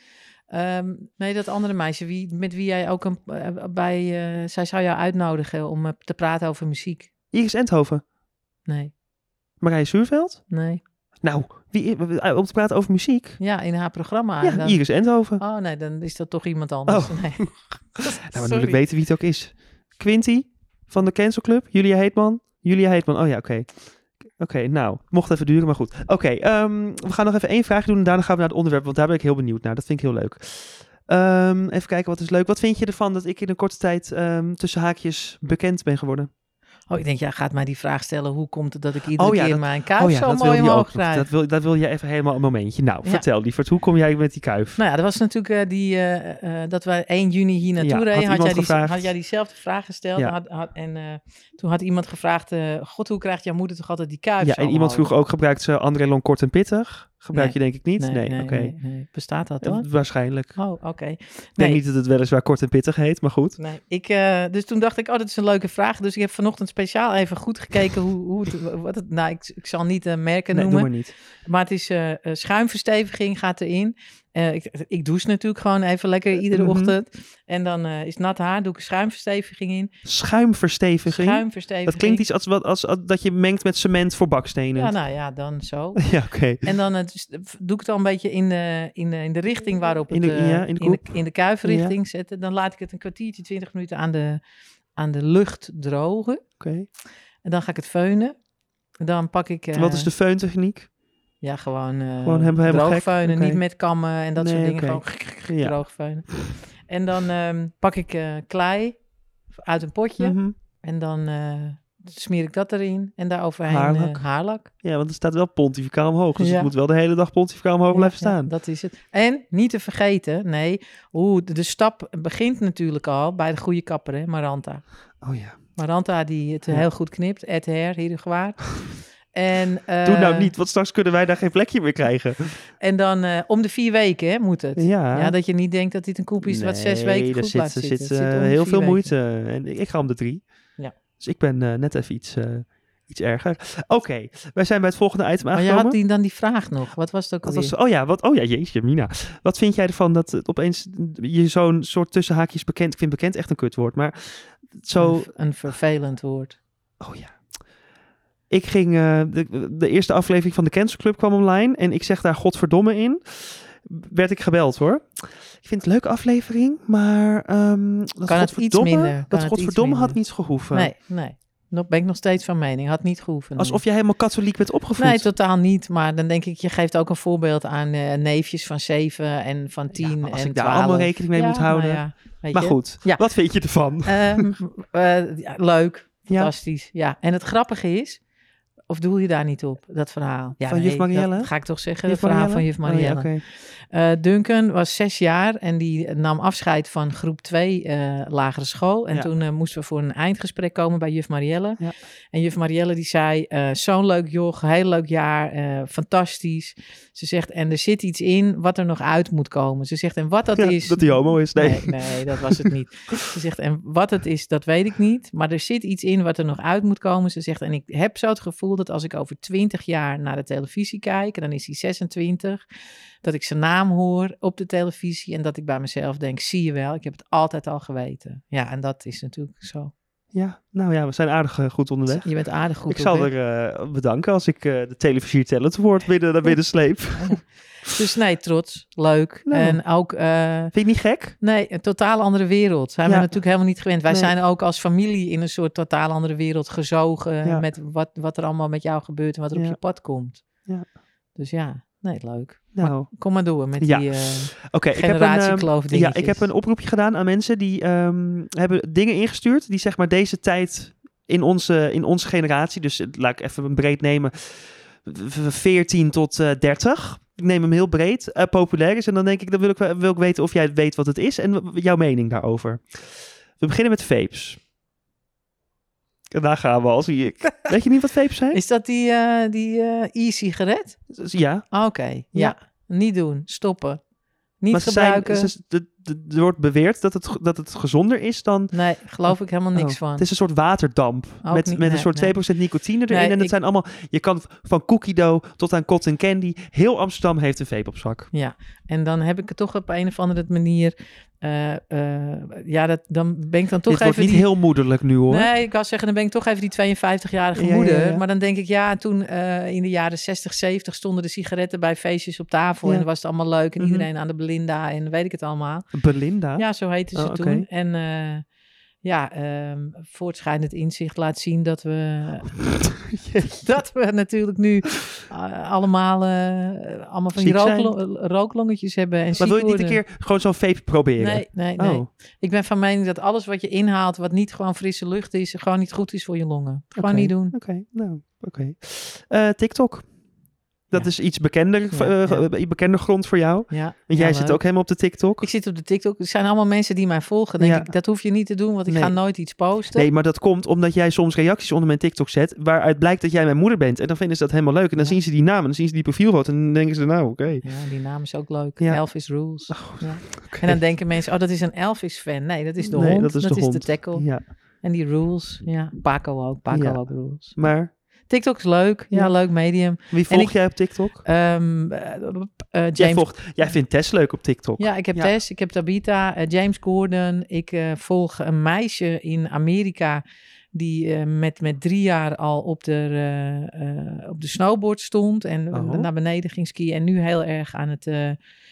B: Ehm, nee, dat andere meisje wie, met wie jij ook een, eh, bij... eh, zij zou jou uitnodigen om eh, te praten over muziek.
A: Iris Endhoven?
B: Nee,
A: Marije Zuurveld?
B: nee.
A: Nou, wie, om te praten over muziek?
B: Ja, in haar programma.
A: ja,
B: Ah, En dan-
A: Iris Endhoven.
B: Oh nee, dan is dat toch iemand anders. Nee.
A: [LAUGHS] nou, we
B: Sorry.
A: natuurlijk weten wie het ook is. Quinty van de Cancel Club. Julia Heetman. Julia Heetman. Oh ja, oké. Oké, nou, mocht even duren, maar goed. Oké, ehm, we gaan nog even één vraag doen en daarna gaan we naar het onderwerp, want daar ben ik heel benieuwd naar. Dat vind ik heel leuk. Ehm, even kijken, wat is leuk? Wat vind je ervan dat ik in een korte tijd ehm, tussen haakjes bekend ben geworden?
B: Oh, ik denk, jij gaat mij die vraag stellen. Hoe komt het dat ik iedere
A: Oh ja,
B: keer
A: dat-
B: mijn kuif zo
A: dat
B: mooi
A: wilde je
B: omhoog
A: ook. nog.
B: krijg?
A: Dat wil, dat wil je even helemaal een momentje. Nou,
B: Ja.
A: vertel lieverd, hoe kom jij met die kuif?
B: Nou ja, dat was natuurlijk eh, die, eh, eh, dat wij 1 juni hier naartoe
A: Ja, had
B: reden. Had,
A: iemand
B: jij die,
A: gevraagd-
B: had jij diezelfde vraag gesteld?
A: Ja.
B: Had- had- en eh, toen had iemand gevraagd, eh, god, hoe krijgt jouw moeder toch altijd die kuif
A: ja,
B: zo
A: en iemand
B: omhoog?"
A: vroeg ook, gebruikt ze André Long kort en pittig? Gebruik je denk ik niet? Nee, oké.
B: nee, nee. Bestaat dat dan?
A: Waarschijnlijk.
B: Oh, oké.
A: Ik denk
B: Nee.
A: niet dat het weliswaar kort en pittig heet, maar goed.
B: Nee, ik, eh, dus toen dacht ik, oh, dat is een leuke vraag. Dus ik heb vanochtend speciaal even goed gekeken hoe, hoe het, wat het, nou, ik, ik zal niet eh, merken
A: nee,
B: noemen.
A: doe maar niet.
B: Maar het is eh, eh, schuimversteviging gaat erin. Eh, ik, ik douche natuurlijk gewoon even lekker iedere
A: Mhm.
B: ochtend. En dan eh, is nat haar, doe ik een schuimversteviging in.
A: Schuimversteviging.
B: Schuimversteviging.
A: Dat klinkt iets als, wat als, als dat je mengt met cement voor bakstenen.
B: Ja, nou ja, dan zo.
A: [LAUGHS] Ja, oké.
B: En dan eh, dus, eh, doe ik het al een beetje in de, in de, in de richting waarop het...
A: In de-
B: eh,
A: ja, in de
B: in,
A: koep.
B: in de kuifrichting zetten. Dan laat ik het een kwartiertje, twintig minuten aan de, aan de lucht drogen.
A: oké.
B: En dan ga ik het feunen. En Dan pak ik... eh,
A: Wat is de feun-techniek?
B: Ja, gewoon, eh
A: Gewoon hem- helemaal
B: droog
A: gek?
B: feunen,
A: Oké.
B: niet met kammen en dat soort
A: Nee,
B: dingen.
A: oké.
B: Gewoon
A: Ja.
B: droog feunen. En dan ehm, pak ik eh, klei uit een potje
A: Mhm.
B: en dan eh, smeer ik dat erin en daaroverheen
A: Haarlak.
B: eh, haarlak.
A: Ja, want er staat wel pontificaal omhoog. Dus
B: Ja.
A: het moet wel de hele dag pontificaal omhoog blijven
B: Ja, ja,
A: staan.
B: dat is het. En niet te vergeten, nee, oeh, de, de stap begint natuurlijk al bij de goede kapper, hè, Maranta.
A: Oh ja.
B: Maranta die het
A: Ja.
B: heel goed knipt, Ed Her,
A: [LAUGHS]
B: hier gewaar. En,
A: Doe nou
B: eh,
A: niet, want straks kunnen wij daar geen plekje meer krijgen.
B: En dan eh, om de vier weken hè, moet het.
A: Ja.
B: Ja, [LAUGHS] dat je niet denkt dat dit een koep is wat zes
A: Nee,
B: weken
A: daar
B: goed
A: zit,
B: laat
A: er
B: zitten.
A: zit,
B: Het
A: eh,
B: om de
A: heel
B: vier
A: veel
B: weken.
A: moeite. En ik ga om de drie.
B: Ja.
A: Dus ik ben eh, net even iets, eh, iets erger. Oké, wij zijn bij het volgende item
B: Maar
A: aangekomen.
B: je Oh had die, dan die vraag nog. Wat was het ook
A: Dat
B: alweer?
A: was, oh ja, wat, oh ja, jeetje, Mina. Wat vind jij ervan dat het opeens je zo'n soort tussenhaakjes bekend... Ik vind bekend echt een kutwoord, maar zo...
B: Een v- Een vervelend woord.
A: Oh ja. Ik ging... eh, de, de eerste aflevering van de Cancel Club kwam online en ik zeg daar godverdomme in. Werd ik gebeld hoor. Ik vind het een leuke aflevering, maar... ehm dat
B: Kan het iets
A: godverdomme-
B: minder? Kan het
A: Dat
B: iets
A: godverdomme had
B: minder?
A: niet gehoeven.
B: Nee, nee. Nog ben ik nog steeds van mening. Had niet gehoeven. nee.
A: Alsof je helemaal katholiek bent opgevoed.
B: Nee, totaal niet. Maar dan denk ik, je geeft ook een voorbeeld aan eh, neefjes van zeven en van
A: Ja,
B: tien
A: maar als
B: en
A: ik daar
B: 12.
A: allemaal rekening mee
B: Ja,
A: moet houden.
B: Nou ja, weet
A: Maar
B: je.
A: goed,
B: Ja.
A: wat vind je ervan?
B: Ehm, [LAUGHS] eh, ja, leuk.
A: Ja.
B: Fantastisch. Ja. En het grappige is, of doel je daar niet op, dat verhaal? Ja,
A: Van juf
B: dat
A: Marielle?
B: ga ik toch zeggen,
A: Juf
B: het verhaal
A: Marielle?
B: van juf
A: Oh ja,
B: Marielle.
A: oké.
B: Eh, Duncan was zes jaar en die nam afscheid van groep 2 lagere school. En
A: Ja.
B: toen eh, moesten we voor een eindgesprek komen bij juf Marielle.
A: Ja.
B: En juf Marielle die zei, eh, zo'n leuk joch, heel leuk jaar, eh, fantastisch. Ze zegt, en er zit iets in wat er nog uit moet komen. Ze zegt, en wat dat
A: Ja,
B: is...
A: dat hij homo is. Nee.
B: Nee. Nee, dat was het
A: [LAUGHS]
B: niet. Ze zegt, en wat het is, dat weet ik niet. Maar er zit iets in wat er nog uit moet komen. Ze zegt, en ik heb zo het gevoel dat als ik over 20 jaar naar de televisie kijk, en dan is hij 26, dat ik zijn naam hoor op de televisie en dat ik bij mezelf denk, zie je wel, ik heb het altijd al geweten. Ja, en dat is natuurlijk zo.
A: Ja, nou ja, we zijn aardig eh, goed onderweg.
B: Je bent aardig goed
A: ik
B: op
A: zal
B: weg.
A: er eh, bedanken als ik eh, de televisier talent woord binnen, naar binnen sleep.
B: Dus nee, trots, leuk.
A: Nou.
B: En ook... eh,
A: Vind je niet gek?
B: Nee, een totaal andere wereld. Zijn we
A: Ja.
B: natuurlijk helemaal niet gewend. Wij
A: Nee.
B: zijn ook als familie in een soort totaal andere wereld gezogen.
A: Ja.
B: Met wat, wat er allemaal met jou gebeurt en wat er op
A: Ja.
B: je pad komt.
A: Ja.
B: Dus ja, nee, leuk.
A: Nou,
B: Kom maar door met
A: Ja.
B: die eh
A: oké. ik heb een, ehm,
B: generatiekloof
A: Ja, ik heb een oproepje gedaan aan mensen die ehm, hebben dingen ingestuurd die zeg maar deze tijd in onze, in onze generatie, dus eh, laat ik even een breed nemen, v- v- 14 tot eh, 30. Ik neem hem heel breed, eh, populair is. En dan denk ik, dan wil ik, wel- wil ik weten of jij weet wat het is en w- jouw mening daarover. We beginnen met vapes. En daar gaan we al, zie
B: [LAUGHS]
A: ik. Weet je niet wat vapes zijn?
B: Is dat die, eh, die eh, e-sigaret?
A: Ja.
B: Ah, Oké, ja. Niet doen, stoppen. Niet
A: maar ze zijn,
B: gebruiken.
A: ze- de- de- er wordt beweerd dat het, ge- dat het gezonder is dan
B: Nee, geloof ik helemaal niks
A: Oh,
B: van.
A: Het is een soort waterdamp.
B: Ook
A: met
B: niet-
A: met een
B: nee,
A: soort
B: nee.
A: 2% nicotine erin.
B: Nee,
A: en het
B: ik-
A: zijn allemaal. Je kan van cookie dough tot aan cotton candy. Heel Amsterdam heeft een vape op zak.
B: Ja, en dan heb ik het toch op een of andere manier. eh, eh, ja, dat, dan ben ik dan toch
A: Dit wordt
B: even
A: niet
B: die,
A: heel moederlijk nu hoor.
B: Nee, ik wou zeggen, dan ben ik toch even die 52-jarige
A: Ja, ja,
B: moeder.
A: ja.
B: Maar dan denk ik, ja, toen eh, in de jaren 60, 70 stonden de sigaretten bij feestjes op tafel.
A: Ja.
B: En dan was het allemaal leuk. En
A: Mhm.
B: iedereen aan de Belinda en weet ik het allemaal.
A: Belinda.
B: Ja, zo heette ze
A: Oh, oké.
B: toen. En eh, ja, ehm voortschrijdend inzicht laat zien
A: [LAUGHS]
B: dat we, [LAUGHS] dat we natuurlijk nu eh, allemaal, eh, allemaal van die
A: Ziek zijn.
B: rooklo- rooklongetjes hebben. En
A: maar
B: ziek
A: wil je niet een
B: worden.
A: keer gewoon zo'n vape proberen?
B: Nee, nee, nee.
A: Oh,
B: Ik ben van mening dat alles wat je inhaalt, wat niet gewoon frisse lucht is, gewoon niet goed is voor je longen. Gewoon
A: Oké.
B: niet doen.
A: oké. Nou, oké. Eh, TikTok. Dat
B: Ja.
A: is iets bekender,
B: Ja,
A: eh, bekender grond voor jou.
B: Ja,
A: Want jij
B: heel
A: zit
B: leuk.
A: ook helemaal op de TikTok.
B: Ik zit op de TikTok. Het zijn allemaal mensen die mij volgen. Denk
A: Ja.
B: ik, dat hoef je niet te doen, want ik
A: Nee.
B: ga nooit iets posten.
A: Nee, maar dat komt omdat jij soms reacties onder mijn TikTok zet. waaruit blijkt dat jij mijn moeder bent. En dan vinden ze dat helemaal leuk. En dan
B: Ja.
A: zien ze die naam en dan zien ze die profielfoto. en dan denken ze, nou, oké.
B: Ja, die naam is ook leuk.
A: Ja.
B: Elvis Rules. Ja.
A: Oké.
B: En dan denken mensen, oh, dat is een Elvis-fan. Nee, dat is de
A: Nee,
B: hond.
A: dat is de hond.
B: tackle.
A: Ja,
B: En die rules. Ja, Paco ook. Paco
A: Ja.
B: ook rules.
A: maar
B: TikTok is leuk. Ja,
A: Ja.
B: leuk medium.
A: wie volg
B: ik-
A: jij op TikTok?
B: Ehm, eh, eh, James
A: jij, volgt, jij vindt Tess leuk op TikTok.
B: Ja, ik heb
A: Ja.
B: Tess, ik heb Tabita, eh, James Gordon. Ik eh, volg een meisje in Amerika die eh, met, met drie jaar al op de, eh, eh, op de snowboard stond en
A: Oh.
B: naar beneden ging skiën. En nu heel erg aan het eh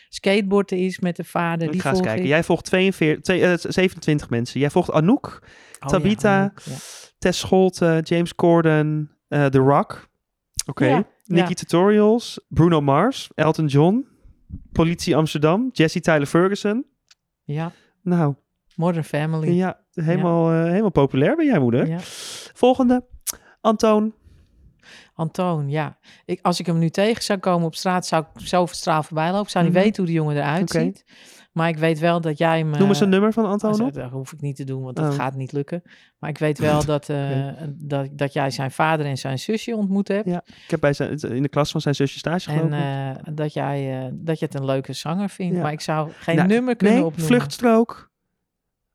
B: skateboarden is met de vader.
A: ik
B: die
A: ga eens
B: volg
A: kijken.
B: ik.
A: Jij volgt 42, twee- eh, 27 mensen. Jij volgt Anouk,
B: Oh,
A: Tabita.
B: ja, Anouk, ja.
A: Tess Scholte, James Corden, eh, The Rock. Oké.
B: Ja,
A: Nicky
B: ja.
A: Tutorials, Bruno Mars, Elton John, Politie Amsterdam, Jesse Tyler Ferguson.
B: Ja,
A: Nou,
B: Modern Family.
A: ja, helemaal, eh, helemaal populair ben jij moeder.
B: Ja.
A: Volgende, Antoon.
B: Antoon, ja. Ik, als ik hem nu tegen zou komen op straat, zou ik zo straal voorbij lopen. Ik zou niet
A: Mhm.
B: weten hoe de jongen eruit
A: Oké.
B: ziet. Maar ik weet wel dat jij hem...
A: Noem eens
B: eh,
A: een nummer van Antoon
B: Dat-
A: op.
B: Dat hoef ik niet te doen, want dat
A: Oh.
B: gaat niet lukken. Maar ik weet
A: [LAUGHS]
B: wel dat, eh, dat, dat jij zijn vader en zijn zusje ontmoet hebt.
A: Ja, ik heb bij zijn, in de klas van zijn zusje stage
B: en
A: gelopen.
B: eh, dat, jij, eh, dat je het een leuke zanger vindt.
A: Ja.
B: Maar ik zou geen
A: Nou,
B: nummer kunnen
A: nee,
B: opnoemen.
A: vluchtstrook,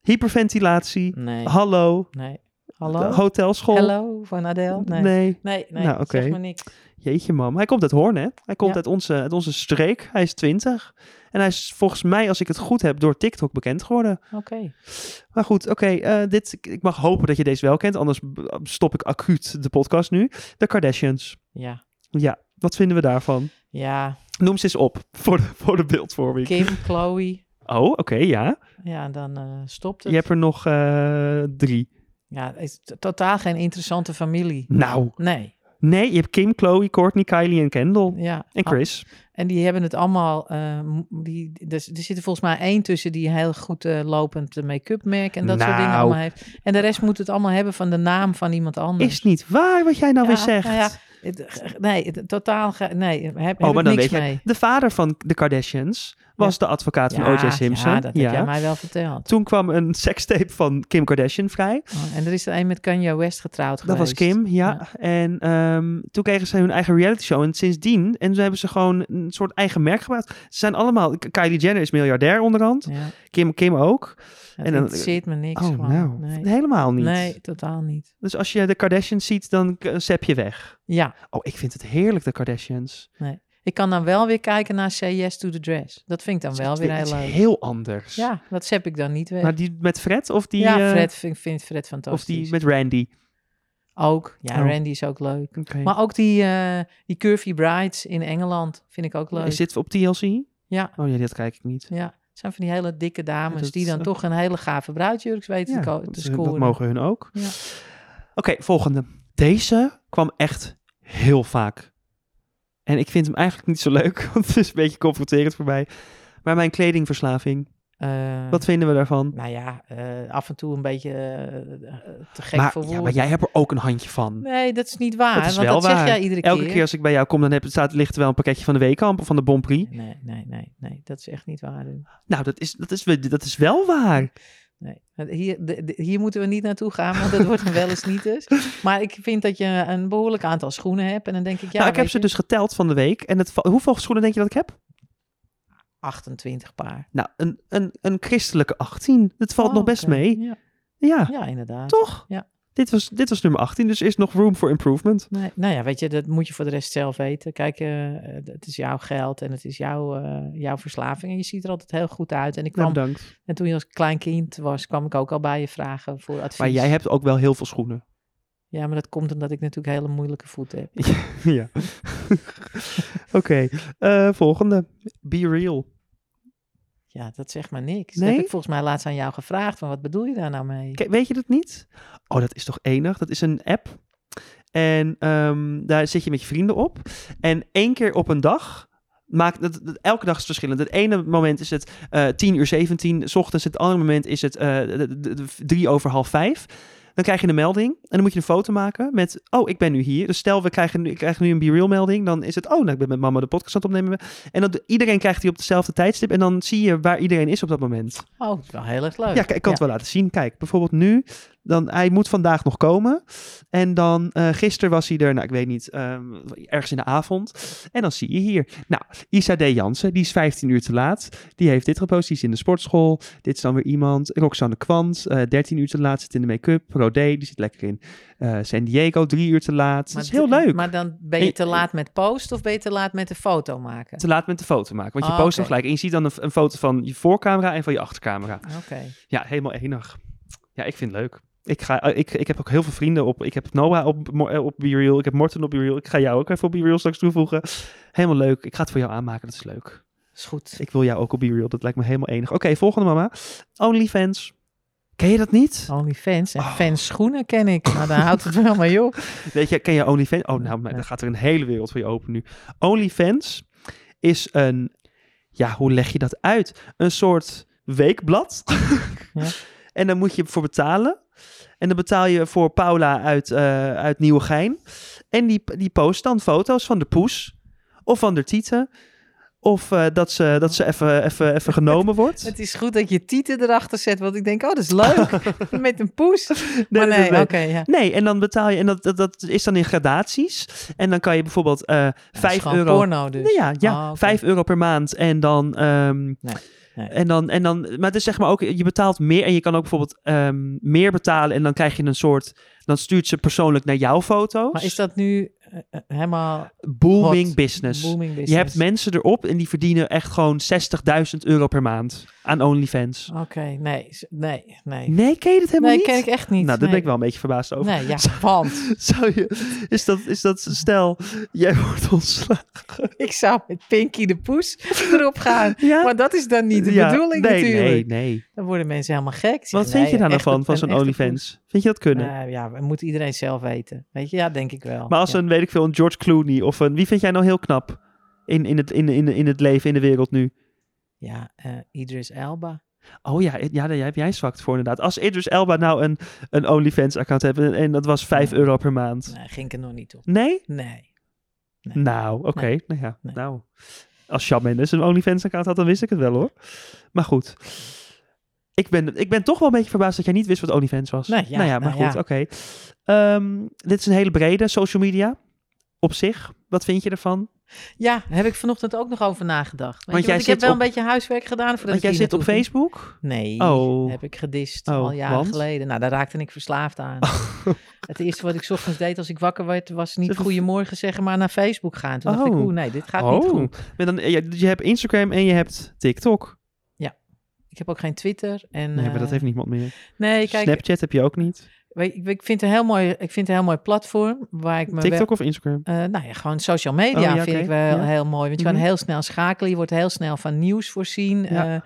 A: hyperventilatie,
B: Nee,
A: hallo,
B: nee. Hallo?
A: de hotelschool.
B: Hallo van Adele? Nee.
A: Nee.
B: Nee, nee,
A: Nou, oké.
B: zeg maar niks.
A: jeetje mam. Hij komt uit Hoorn, hè? Hij komt
B: Ja.
A: uit, onze, uit onze streek. Hij is 20. En hij is volgens mij, als ik het goed heb, door TikTok bekend geworden.
B: Oké.
A: Maar goed, oké. eh, dit, ik- ik mag hopen dat je deze wel kent. Anders b- stop ik acuut de podcast nu. De Kardashians.
B: Ja.
A: Ja, wat vinden we daarvan?
B: Ja,
A: Noem ze eens op [LAUGHS] voor de, voor de beeldvorming.
B: Kim, Chloe.
A: Oh, oké, ja.
B: Ja, dan eh, stopt het.
A: Je hebt er nog eh, drie.
B: Ja, het is t- totaal geen interessante familie.
A: Nou,
B: Nee.
A: nee, je hebt Kim, Chloe, Courtney, Kylie en Kendall.
B: Ja.
A: En
B: Al-
A: Chris.
B: En die hebben het allemaal. eh, m- die, dus, er zit er volgens mij één tussen die heel goed eh, lopend make-up merk en dat soort dingen
A: Nou.
B: allemaal heeft. En de rest moet het allemaal hebben van de naam van iemand anders.
A: Is niet waar wat jij nou
B: Ja,
A: weer zegt.
B: nou ja, Het- Nee, het- totaal. ge- Nee, heb, heb
A: Oh,
B: ik
A: maar dan
B: niks
A: weet je.
B: mee.
A: De vader van de Kardashians was de advocaat van O.J. Simpson.
B: Ja, dat heb jij mij wel verteld.
A: Toen kwam een sekstape van Kim Kardashian vrij.
B: Oh, en er is er een met Kanye West getrouwd
A: Dat was
B: geweest.
A: Kim, ja.
B: Ja.
A: En ehm, toen kregen ze hun eigen reality show. En sindsdien en ze hebben ze gewoon een soort eigen merk gemaakt. Ze zijn allemaal... K- Kylie Jenner is miljardair onderhand.
B: Ja,
A: Kim, Kim ook.
B: dat
A: En dan-
B: interesseert me niks
A: oh,
B: van.
A: nou.
B: Nee.
A: Helemaal niet.
B: nee, totaal niet.
A: Dus als je de Kardashians ziet, dan k- zep je weg.
B: Ja,
A: Oh, ik vind het heerlijk, de Kardashians.
B: ik kan dan wel weer kijken naar Say Yes to the Dress. Dat vind ik dan wel
A: Het
B: weer
A: is
B: heel leuk.
A: heel anders.
B: Ja, dat zep ik dan niet weg.
A: Maar die met Fred of die...
B: Eh, ja,
A: eh,
B: Fred vind, vindt Fred
A: of
B: fantastisch.
A: die met Randy.
B: Ook, ja,
A: Oh.
B: Randy is ook leuk.
A: Oké.
B: Maar ook die, eh, die Curvy Brides in Engeland vind ik ook leuk.
A: Is dit Eh, op TLC?
B: Ja,
A: Oh nee, dat kijk ik niet.
B: ja. Het zijn van die hele dikke dames
A: dat
B: die dan
A: is-
B: toch een hele gave bruidjurk weten te ko-
A: dat,
B: te
A: is- dat
B: scoren.
A: mogen hun ook.
B: Ja.
A: Oké, volgende. Deze kwam echt heel vaak. En ik vind hem eigenlijk niet zo leuk, [LAUGHS] want het is een beetje confronterend voor mij. Maar mijn kledingverslaving,
B: Eh,
A: wat vinden we daarvan?
B: Nou ja, eh, af en toe een beetje eh, te gek
A: maar,
B: voor
A: ja,
B: woorden.
A: maar jij hebt er ook een handje van.
B: Nee, dat is niet waar.
A: Dat is
B: want
A: wel
B: dat zeg
A: waar.
B: jij iedere
A: Elke keer als ik bij jou kom, dan heb, staat, ligt er wel een pakketje van de Weekamp of van de Bon Prix.
B: Nee, nee, nee, nee. Dat is echt niet waar. Ruud.
A: Nou, dat is, dat, is, dat is wel waar.
B: Nee. Want Hier, de- de- hier moeten we niet naartoe gaan, want dat wordt een wel eens niet dus.
A: [LAUGHS]
B: Maar ik vind dat je een behoorlijk aantal schoenen hebt. En dan denk ik, ja,
A: nou, ik heb
B: weet
A: ze
B: je,
A: dus geteld van de week. En het, va- hoeveel schoenen denk je dat ik heb?
B: 28 paar.
A: Nou, een, een, een christelijke 18. Dat valt
B: Oh,
A: nog best
B: oké.
A: mee.
B: Ja,
A: Ja.
B: ja, inderdaad.
A: Toch?
B: Ja.
A: Dit was, dit was nummer 18, dus er is nog room for improvement.
B: Nee, nou ja, weet je, dat moet je voor de rest zelf weten. Kijk, eh, eh, het is jouw geld en het is jouw, eh, jouw verslaving. En je ziet er altijd heel goed uit. En, ik
A: Nou,
B: kwam,
A: bedankt.
B: en toen je als klein kind was, kwam ik ook al bij je vragen voor advies.
A: Maar jij hebt ook wel heel veel schoenen. [LAUGHS]
B: Ja, maar dat komt omdat ik natuurlijk hele moeilijke voeten heb. [LAUGHS]
A: ja. Oké, eh, volgende. Be real.
B: Ja, dat zegt maar niks. Dat
A: Nee?
B: heb ik volgens mij laatst aan jou gevraagd. Van wat bedoel je daar nou mee?
A: Ke- weet je dat niet? Oh, dat is toch enig? Dat is een app. En ehm, daar zit je met je vrienden op. En één keer op een dag. Maakt, dat, dat- elke dag is verschillend. Het ene moment is het eh 10 uur 17 's ochtends. Het andere moment is het eh, de- de- de- drie over half vijf. Dan krijg je een melding. En dan moet je een foto maken met... Oh, ik ben nu hier. Dus stel, we krijgen nu, ik krijg nu een BeReal melding. Dan is het... Oh, nou, ik ben met mama de podcast aan het opnemen. En dan, iedereen krijgt die op dezelfde tijdstip. En dan zie je waar iedereen is op dat moment.
B: Oh, dat is wel heel erg leuk.
A: Ja, kijk, ik kan het wel laten zien. Kijk, bijvoorbeeld nu. Dan, hij moet vandaag nog komen. En dan eh gisteren was hij er, nou ik weet niet, ehm, ergens in de avond. En dan zie je hier. Nou, Isa D. Jansen, die is 15 uur te laat. Die heeft dit gepost, die is in de sportschool. Dit is dan weer iemand. Roxanne Kwant, eh 13 uur te laat, zit in de make-up. Rodé, die zit lekker in eh, San Diego, drie uur te laat.
B: Maar
A: dat is heel
B: d-
A: leuk.
B: Maar dan ben
A: Hey,
B: je te laat met posten of ben je te laat met de foto maken?
A: te laat met de foto maken. Want je
B: Ah,
A: post hem
B: oké.
A: gelijk. En je ziet dan een, een foto van je voorcamera en van je achtercamera.
B: Oké.
A: Ja, helemaal enig. Ja, ik vind het leuk. Ik, ga, eh, ik, ik heb ook heel veel vrienden op. Ik heb Noah op, Mo- eh, op BeReal. Ik heb Morten op BeReal. Ik ga jou ook even op BeReal straks toevoegen. Helemaal leuk. Ik ga het voor jou aanmaken. Dat is leuk.
B: Is goed.
A: Ik wil jou ook op BeReal. Dat lijkt me helemaal enig. Oké, volgende mama. OnlyFans. Ken je dat niet?
B: OnlyFans en
A: Oh.
B: fans schoenen ken ik.
A: [LAUGHS]
B: Nou, daar houdt het wel mee op.
A: Weet je, ken je OnlyFans? Oh, nou, maar
B: Nee.
A: dan gaat er een hele wereld voor je open nu. OnlyFans is een... Ja, hoe leg je dat uit? Een soort weekblad.
B: Ja.
A: [LAUGHS] En dan moet je voor betalen. En dan betaal je voor Paula uit, eh uit Nieuwegein. En die, die post dan foto's van de poes. Of van de tieten. Of eh, dat ze, dat ze even, even, even genomen wordt.
B: [LAUGHS] Het is goed dat je tieten erachter zet, want ik denk, oh, dat is leuk.
A: [LAUGHS]
B: met een poes.
A: Nee,
B: maar
A: nee,
B: nee,
A: nee.
B: oké, ja.
A: Nee, en dan betaal je, en dat, dat, dat is dan in gradaties. En dan kan je bijvoorbeeld eh
B: Dat is
A: 5
B: gewoon
A: euro.
B: porno dus.
A: Nou ja, ja
B: Ah, oké.
A: 5 euro per maand. En dan, ehm,
B: Nee.
A: en dan, en dan, maar het is zeg maar ook, je betaalt meer en je kan ook bijvoorbeeld ehm, meer betalen. En dan krijg je een soort, dan stuurt ze persoonlijk naar jouw foto's.
B: Maar is dat nu eh, eh, helemaal
A: booming
B: hot?
A: business.
B: booming business?
A: Je hebt mensen erop en die verdienen echt gewoon 60.000 euro per maand aan OnlyFans.
B: Oké, nee, s- nee, Oh, nee.
A: Nee, ken je dat helemaal
B: Nee,
A: niet?
B: ken ik echt niet.
A: nou, daar
B: nee.
A: ben ik wel een beetje verbaasd over.
B: Nee, ja, want
A: [LAUGHS] Zou je, is, dat, is dat, stel, jij wordt ontslagen.
B: ik zou met Pinky de
A: [LAUGHS]
B: Poes erop gaan.
A: Ja?
B: [LAUGHS] Maar dat is dan niet de
A: Ja,
B: bedoeling
A: nee,
B: natuurlijk.
A: Nee, nee.
B: Dan worden mensen helemaal gek. Ze
A: Wat
B: zeggen,
A: vind je
B: nee,
A: daar nou
B: echt
A: van,
B: een-
A: van
B: een
A: zo'n
B: echte
A: OnlyFans? Vind je dat kunnen?
B: poes. Nou ja, dat moet iedereen zelf weten. Weet je, ja, denk ik wel.
A: maar als
B: ja.
A: een, weet ik veel, een George Clooney of een... Wie vind jij nou heel knap in, in, het, in, in, in het leven, in de wereld nu?
B: Ja, eh, Idris Elba.
A: Oh ja, ja daar heb jij zwakt voor inderdaad. Als Idris Elba nou een, een OnlyFans account heeft en, en dat was 5
B: Ja.
A: euro per maand.
B: Nee, ging ik er nog niet op.
A: Nee?
B: Nee. Nee.
A: Nou, oké.
B: Nee.
A: Nou ja,
B: Nee.
A: nou. Als Shawn Mendes een OnlyFans-account had, dan wist ik het wel hoor. Maar goed. Ik ben, ik ben toch wel een beetje verbaasd dat jij niet wist wat OnlyFans was.
B: Nou ja,
A: nou ja maar
B: nou
A: goed,
B: ja.
A: oké. Ehm, dit is een hele brede social media op zich. Wat vind je ervan?
B: Ja, daar heb ik vanochtend ook nog over nagedacht. Weet
A: Want
B: je,
A: jij
B: want ik heb
A: zit
B: wel
A: op-
B: een beetje huiswerk gedaan. Voordat
A: Want jij
B: ik hier
A: zit op
B: naartoe ging.
A: Facebook?
B: Nee,
A: Oh.
B: heb ik gedist
A: Oh,
B: al jaren
A: want? Oh.
B: geleden. Nou, daar raakte ik verslaafd aan. [LAUGHS] het eerste wat ik 's ochtends deed als ik wakker werd, was niet
A: Zeg,
B: goedemorgen zeggen, maar naar Facebook gaan. Toen dacht ik,
A: Oh.
B: oeh, nee, dit gaat niet goed.
A: Maar dan, ja, dus je hebt Instagram en je hebt TikTok.
B: Ik heb ook geen Twitter. En,
A: Nee, maar dat
B: eh,
A: heeft niemand meer.
B: nee, kijk,
A: Snapchat heb je ook niet.
B: weet- ik, ik vind het een heel mooi, ik vind het een heel mooi platform waar ik me wel-
A: TikTok of Instagram?
B: Eh, nou ja, gewoon social media
A: Oh, ja,
B: vind
A: oké.
B: ik wel
A: Ja.
B: heel mooi. Want je
A: Mhm.
B: kan heel snel schakelen. Je wordt heel snel van nieuws voorzien.
A: Ja.
B: eh,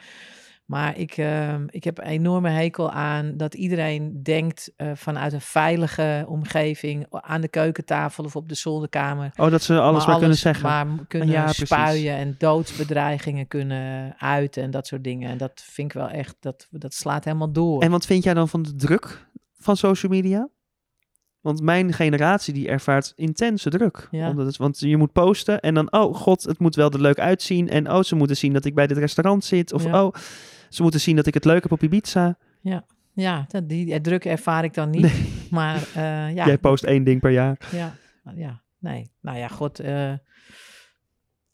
B: maar ik, ehm, ik heb een enorme hekel aan dat iedereen denkt eh, vanuit een veilige omgeving aan de keukentafel of op de zolderkamer.
A: Oh, dat ze alles maar,
B: maar
A: kunnen zeggen.
B: Maar m- kunnen
A: Ja, precies.
B: spuien en doodsbedreigingen kunnen uiten en dat soort dingen. En dat vind ik wel echt, dat, dat slaat helemaal door.
A: En wat vind jij dan van de druk van social media? Want mijn generatie die ervaart intense druk.
B: Ja.
A: Omdat het, want je moet posten en dan, oh god, het moet wel er leuk uitzien. En oh, ze moeten zien dat ik bij dit restaurant zit. Of
B: Ja.
A: oh, ze moeten zien dat ik het leuk heb op Ibiza.
B: Ja, dat, die eh, druk ervaar ik dan niet. Maar
A: [LAUGHS]
B: eh, ja,
A: Jij post één ding per jaar.
B: Ja, nou ja, nee. Nou ja, god. eh,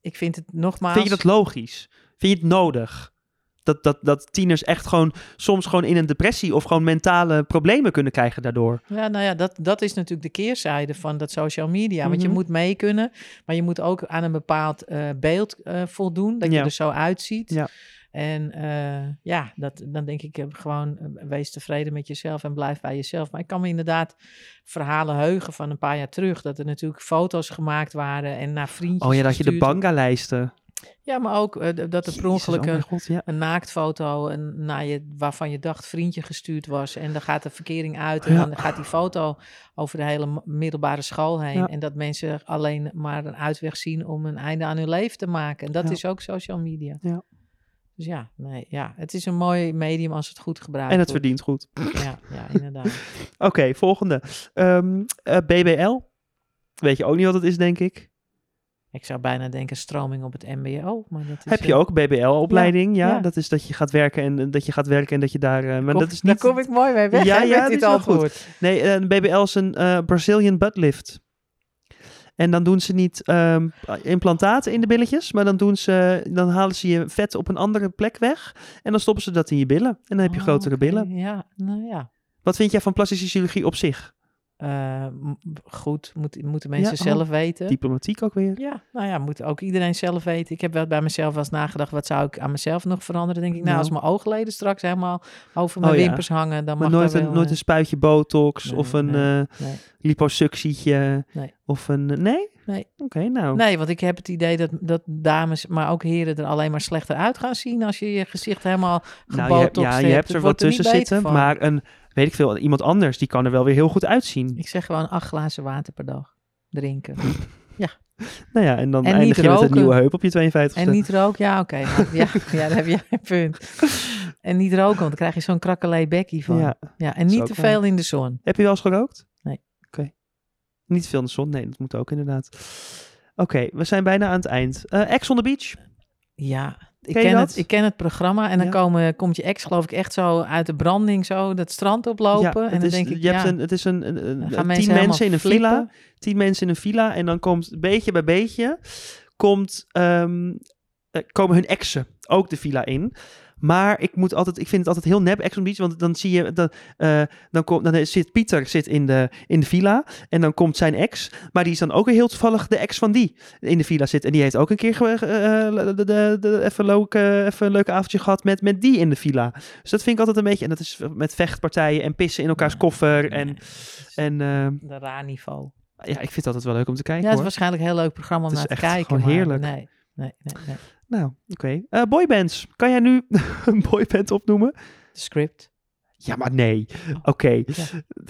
B: ik vind het nogmaals...
A: Vind je dat logisch? Vind je het nodig? Dat, dat, dat tieners echt gewoon soms gewoon in een depressie of gewoon mentale problemen kunnen krijgen daardoor.
B: Ja, nou ja, dat, dat is natuurlijk de keerzijde van dat social media. Want je
A: Mhm.
B: moet mee kunnen, maar je moet ook aan een bepaald eh, beeld eh, voldoen. Dat
A: Ja.
B: je er zo uitziet.
A: Ja.
B: En eh, ja, dat, dan denk ik eh, gewoon, eh, wees tevreden met jezelf en blijf bij jezelf. Maar ik kan me inderdaad verhalen heugen van een paar jaar terug. Dat er natuurlijk foto's gemaakt waren en naar vriendjes
A: Oh ja, dat je de
B: gestuurd.
A: bangalijsten.
B: Ja, maar ook eh, d- dat er per ongeluk
A: Jezus, oh
B: een-
A: mijn god, ja.
B: een naaktfoto en naar je, waarvan je dacht vriendje gestuurd was. En dan gaat de verkering uit en
A: Ja.
B: dan gaat die foto over de hele m- middelbare school heen.
A: Ja.
B: En dat mensen alleen maar een uitweg zien om een einde aan hun leven te maken. En dat
A: Ja.
B: is ook social media.
A: Ja.
B: Dus ja, nee, ja, het is een mooi medium als het goed gebruikt
A: En het
B: wordt.
A: verdient goed.
B: Ja, ja, inderdaad. [LAUGHS]
A: Oké, volgende. Ehm, eh, BBL. Weet je ook niet wat het is, denk ik.
B: Ik zou bijna denken stroming op het mbo. Maar dat is
A: Heb je
B: eh,
A: ook BBL-opleiding? Ja,
B: Ja, ja.
A: Dat is dat je gaat werken en en dat je gaat werken en dat je daar. eh, maar
B: kom-
A: dat is niet.
B: Daar kom ik mooi mee [LAUGHS] weg
A: Ja,
B: ja,
A: ja,
B: ja,
A: dit
B: dit
A: is wel goed.
B: antwoord.
A: Nee, eh, een BBL is een eh, Brazilian butt lift. En dan doen ze niet ehm, implantaten in de billetjes, maar dan, doen ze, dan halen ze je vet op een andere plek weg. En dan stoppen ze dat in je billen. En dan heb je
B: Oh,
A: grotere
B: oké,
A: billen.
B: Ja, nou ja.
A: Wat vind jij van plastische chirurgie op zich?
B: Eh, m- goed, moet, moeten mensen
A: oh,
B: zelf weten.
A: Diplomatiek ook weer.
B: Ja, nou ja, moet ook iedereen zelf weten. Ik heb wel bij mezelf wel eens nagedacht, wat zou ik aan mezelf nog veranderen? Denk ik, nou,
A: Nou.
B: als mijn oogleden straks helemaal over mijn
A: Oh ja.
B: wimpers hangen, dan
A: Maar
B: mag
A: nooit
B: daar
A: een,
B: wel,
A: nooit
B: eh,
A: een spuitje botox
B: Nee,
A: of een
B: nee,
A: eh,
B: nee.
A: liposuctietje.
B: Nee.
A: Of een... eh, Nee?
B: Nee.
A: Oké, nou.
B: Nee, want ik heb het idee dat, dat dames, maar ook heren er alleen maar slechter uit gaan zien als je je gezicht helemaal
A: nou, je, hebt-
B: gebotoxed
A: ja, je
B: hebt.
A: hebt
B: Het
A: er wat
B: wordt niet
A: tussen
B: beter
A: zitten.
B: van.
A: Maar een, weet ik veel, iemand anders, die kan er wel weer heel goed uitzien.
B: Ik zeg gewoon acht glazen water per dag
A: [LAUGHS]
B: drinken.
A: Nou ja, en dan
B: En niet
A: eindig je met een
B: roken.
A: nieuwe heup op je 52ste.
B: En niet roken, ja, oké. maar- ja, [LAUGHS] ja, daar heb je een punt. En niet roken, want dan krijg je zo'n krakkelee bekkie van.
A: Ja.
B: Ja, en
A: is
B: niet
A: ook
B: te
A: waar.
B: veel in de zon.
A: Heb je wel eens gerookt?
B: Nee.
A: Oké. Niet veel in de zon? Nee, dat moet ook inderdaad. Oké, we zijn bijna aan het eind. Eh Ex on the Beach?
B: Ja, ik
A: Ken
B: ken,
A: je dat?
B: het, ik ken het programma. En dan
A: Ja.
B: komen, komt je ex, geloof ik, echt zo uit de branding, zo dat strand oplopen.
A: het
B: en dan
A: is,
B: denk ik,
A: je
B: ja,
A: hebt een, het is een, een- een-
B: dan gaan
A: tien
B: mensen
A: mensen,
B: helemaal
A: in een
B: flippen.
A: villa. Tien mensen in een villa. En dan komt beetje bij beetje, komt, ehm, eh, komen hun exen ook de villa in. Maar ik, moet altijd, ik vind het altijd heel nep, Ex on the Beach. Want dan zie je, dan, eh, dan, komt, dan zit Pieter zit in, de, in de villa. En dan komt zijn ex. Maar die is dan ook weer heel toevallig de ex van die in de villa zit. En die heeft ook een keer ge- eh, de, de, de, even, leuk, eh, even een leuk avondje gehad met, met die in de villa. Dus dat vind ik altijd een beetje... En dat is met vechtpartijen en pissen in elkaars
B: Ja.
A: koffer. En,
B: Nee, dat is
A: en eh,
B: een raar niveau.
A: ja, ik vind dat altijd wel leuk om te kijken
B: ja, het is
A: hoor.
B: waarschijnlijk een heel leuk programma om
A: Het
B: naar
A: is
B: te
A: echt
B: kijken.
A: gewoon
B: maar
A: heerlijk.
B: Nee, nee, nee, nee.
A: Nou, oké. Eh, boybands. Kan jij nu [LAUGHS] een boyband opnoemen?
B: De script.
A: Ja, maar nee. Oké.
B: Ja.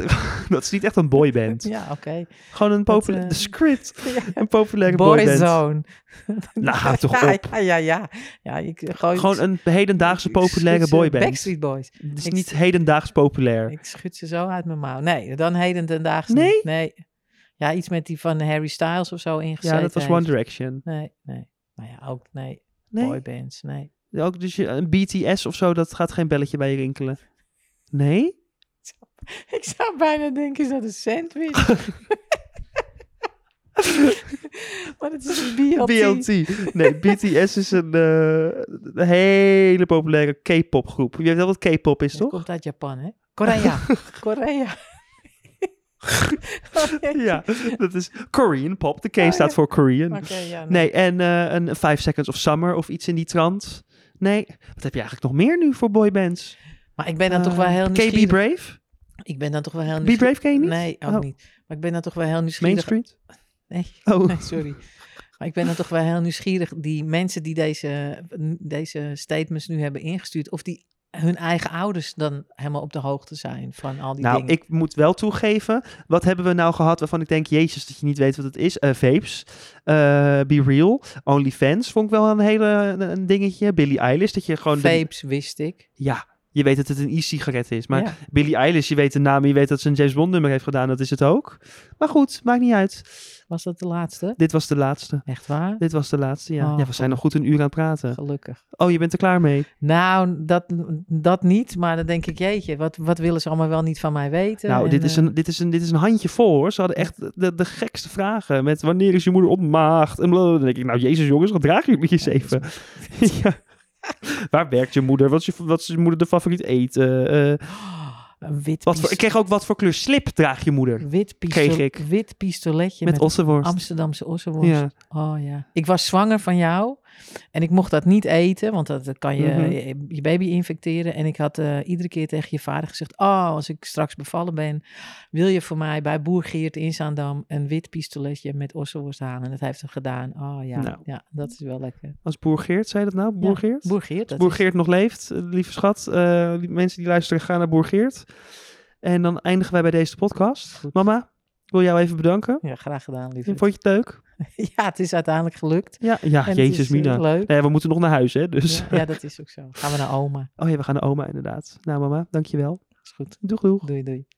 A: [LAUGHS] dat is niet echt een boyband.
B: [LAUGHS] Ja, oké.
A: [LAUGHS] Gewoon een
B: Dat,
A: populair...
B: eh,
A: de
B: [LAUGHS]
A: script. Een populaire boyband.
B: Boyzone.
A: Nou, hou toch
B: [LAUGHS] ja,
A: op.
B: Ja, ja, ja. ja ik, gooi,
A: Gewoon een hedendaagse
B: ik schudt
A: populaire
B: ze-
A: boyband.
B: Backstreet Boys.
A: Het is
B: ik-
A: niet hedendaags populair.
B: Ik schud ze zo uit mijn mouw. Nee, dan heden ten dagen.
A: Nee?
B: Nee. Ja, iets met die van Harry Styles of zo ingezet.
A: Ja, dat was
B: heeft.
A: One Direction.
B: Nee, nee. Nou ja, ook nee.
A: Nee,
B: Boybands, nee. [LAUGHS]
A: ook dus je- een BTS of zo, dat gaat geen belletje bij je rinkelen. Nee?
B: Ik zou bijna denken, is dat een
A: [LAUGHS]
B: sandwich? maar het is een BLT.
A: BLT.
B: [LAUGHS]
A: Nee, BTS is een, eh, een hele populaire K-pop groep. Je weet wel wat K-pop is,
B: Het
A: toch?
B: komt uit Japan, hè?
A: [LAUGHS]
B: Korea. Korea. Oh, Oké,
A: [LAUGHS] Ja, dat is Korean pop. De K
B: Oh, ja.
A: staat voor Korean.
B: ja. Nee.
A: Nee, en eh, een Five Seconds of Summer of iets in die trant. Nee, wat heb je eigenlijk nog meer nu voor boybands?
B: Maar ik ben dan toch wel
A: Eh,
B: heel
A: KB
B: nieuwsgierig.
A: Brave?
B: Ik ben dan toch wel heel
A: Be Brave ken je niet?
B: Nee, ook
A: Oh.
B: niet. Maar ik ben dan toch wel heel
A: Main
B: nieuwsgierig.
A: Street?
B: Nee.
A: Oh,
B: [LAUGHS] Nee, sorry. Maar ik ben dan toch wel heel nieuwsgierig. Die mensen die deze, deze statements nu hebben ingestuurd, of die hun eigen ouders dan helemaal op de hoogte zijn van al die
A: nou,
B: dingen.
A: ik moet wel toegeven. Wat hebben we nou gehad waarvan ik denk, jezus, dat je niet weet wat het is? Eh, vapes, eh, Be Real, OnlyFans vond ik wel een hele een dingetje. Billie Eilish, dat je gewoon... de-
B: Vapes wist ik.
A: ja, je weet dat het een e-sigaret is. Maar
B: Ja.
A: Billie Eilish, je weet de naam, je weet dat ze een James Bond nummer heeft gedaan, dat is het ook. Maar goed, maakt niet uit.
B: Was dat de laatste?
A: Dit was de laatste.
B: Echt waar?
A: Dit was de laatste, ja.
B: Oh,
A: ja, we zijn nog goed een uur aan het praten.
B: Gelukkig.
A: Oh, je bent er klaar mee.
B: Nou, dat, dat niet. Maar dan denk ik, jeetje, wat, wat willen ze allemaal wel niet van mij weten?
A: Nou,
B: En,
A: dit is,
B: eh,
A: een, dit, is een, dit is een handje vol, hoor. Ze hadden echt de, de gekste vragen. Met wanneer is je moeder ontmaagd? En blablabla. dan denk ik, nou, jezus jongens, wat dragen jullie eens even? [LAUGHS] ja. Waar werkt je moeder? Wat is je, wat is je moeder de favoriet eten? Eh,
B: een wit,
A: wat voor,
B: pis-
A: ik kreeg ook wat voor kleur slip draagt je moeder?
B: wit, pistolet,
A: kreeg ik.
B: wit pistoletje
A: Met
B: met,
A: ossenworst.
B: Amsterdamse ossenworst.
A: Ja.
B: Oh ja. Ik was zwanger van jou en ik mocht dat niet eten, want dat, dat kan je,
A: Mhm.
B: je, je baby infecteren. En ik had eh, iedere keer tegen je vader gezegd: Oh, als ik straks bevallen ben, wil je voor mij bij Boer Geert in Zaandam een wit pistoletje met ossenworst halen? En dat heeft hem gedaan. Oh ja,
A: Nou.
B: ja dat is wel lekker.
A: Als Boer Geert, zei je dat nou? Boer
B: Ja,
A: Geert?
B: Boer Geert, dat
A: Als Boer
B: is-
A: Geert nog leeft, eh, lieve schat. eh, die mensen die luisteren, gaan naar Boer Geert. En dan eindigen wij bij deze podcast.
B: Goed.
A: Mama, ik wil jou even bedanken.
B: Ja, graag gedaan, lieve.
A: Vond je het leuk?
B: [LAUGHS] Ja, het is uiteindelijk gelukt.
A: Ja, ja
B: En het
A: jezus
B: is, eh,
A: Mina.
B: Leuk.
A: Nee, we moeten nog naar huis, hè? Dus.
B: Ja, ja, dat is ook zo. Gaan we naar oma.
A: Oh ja, we gaan naar oma inderdaad. Nou mama, dankjewel.
B: Is goed.
A: Doeg doeg.
B: Doei, doei.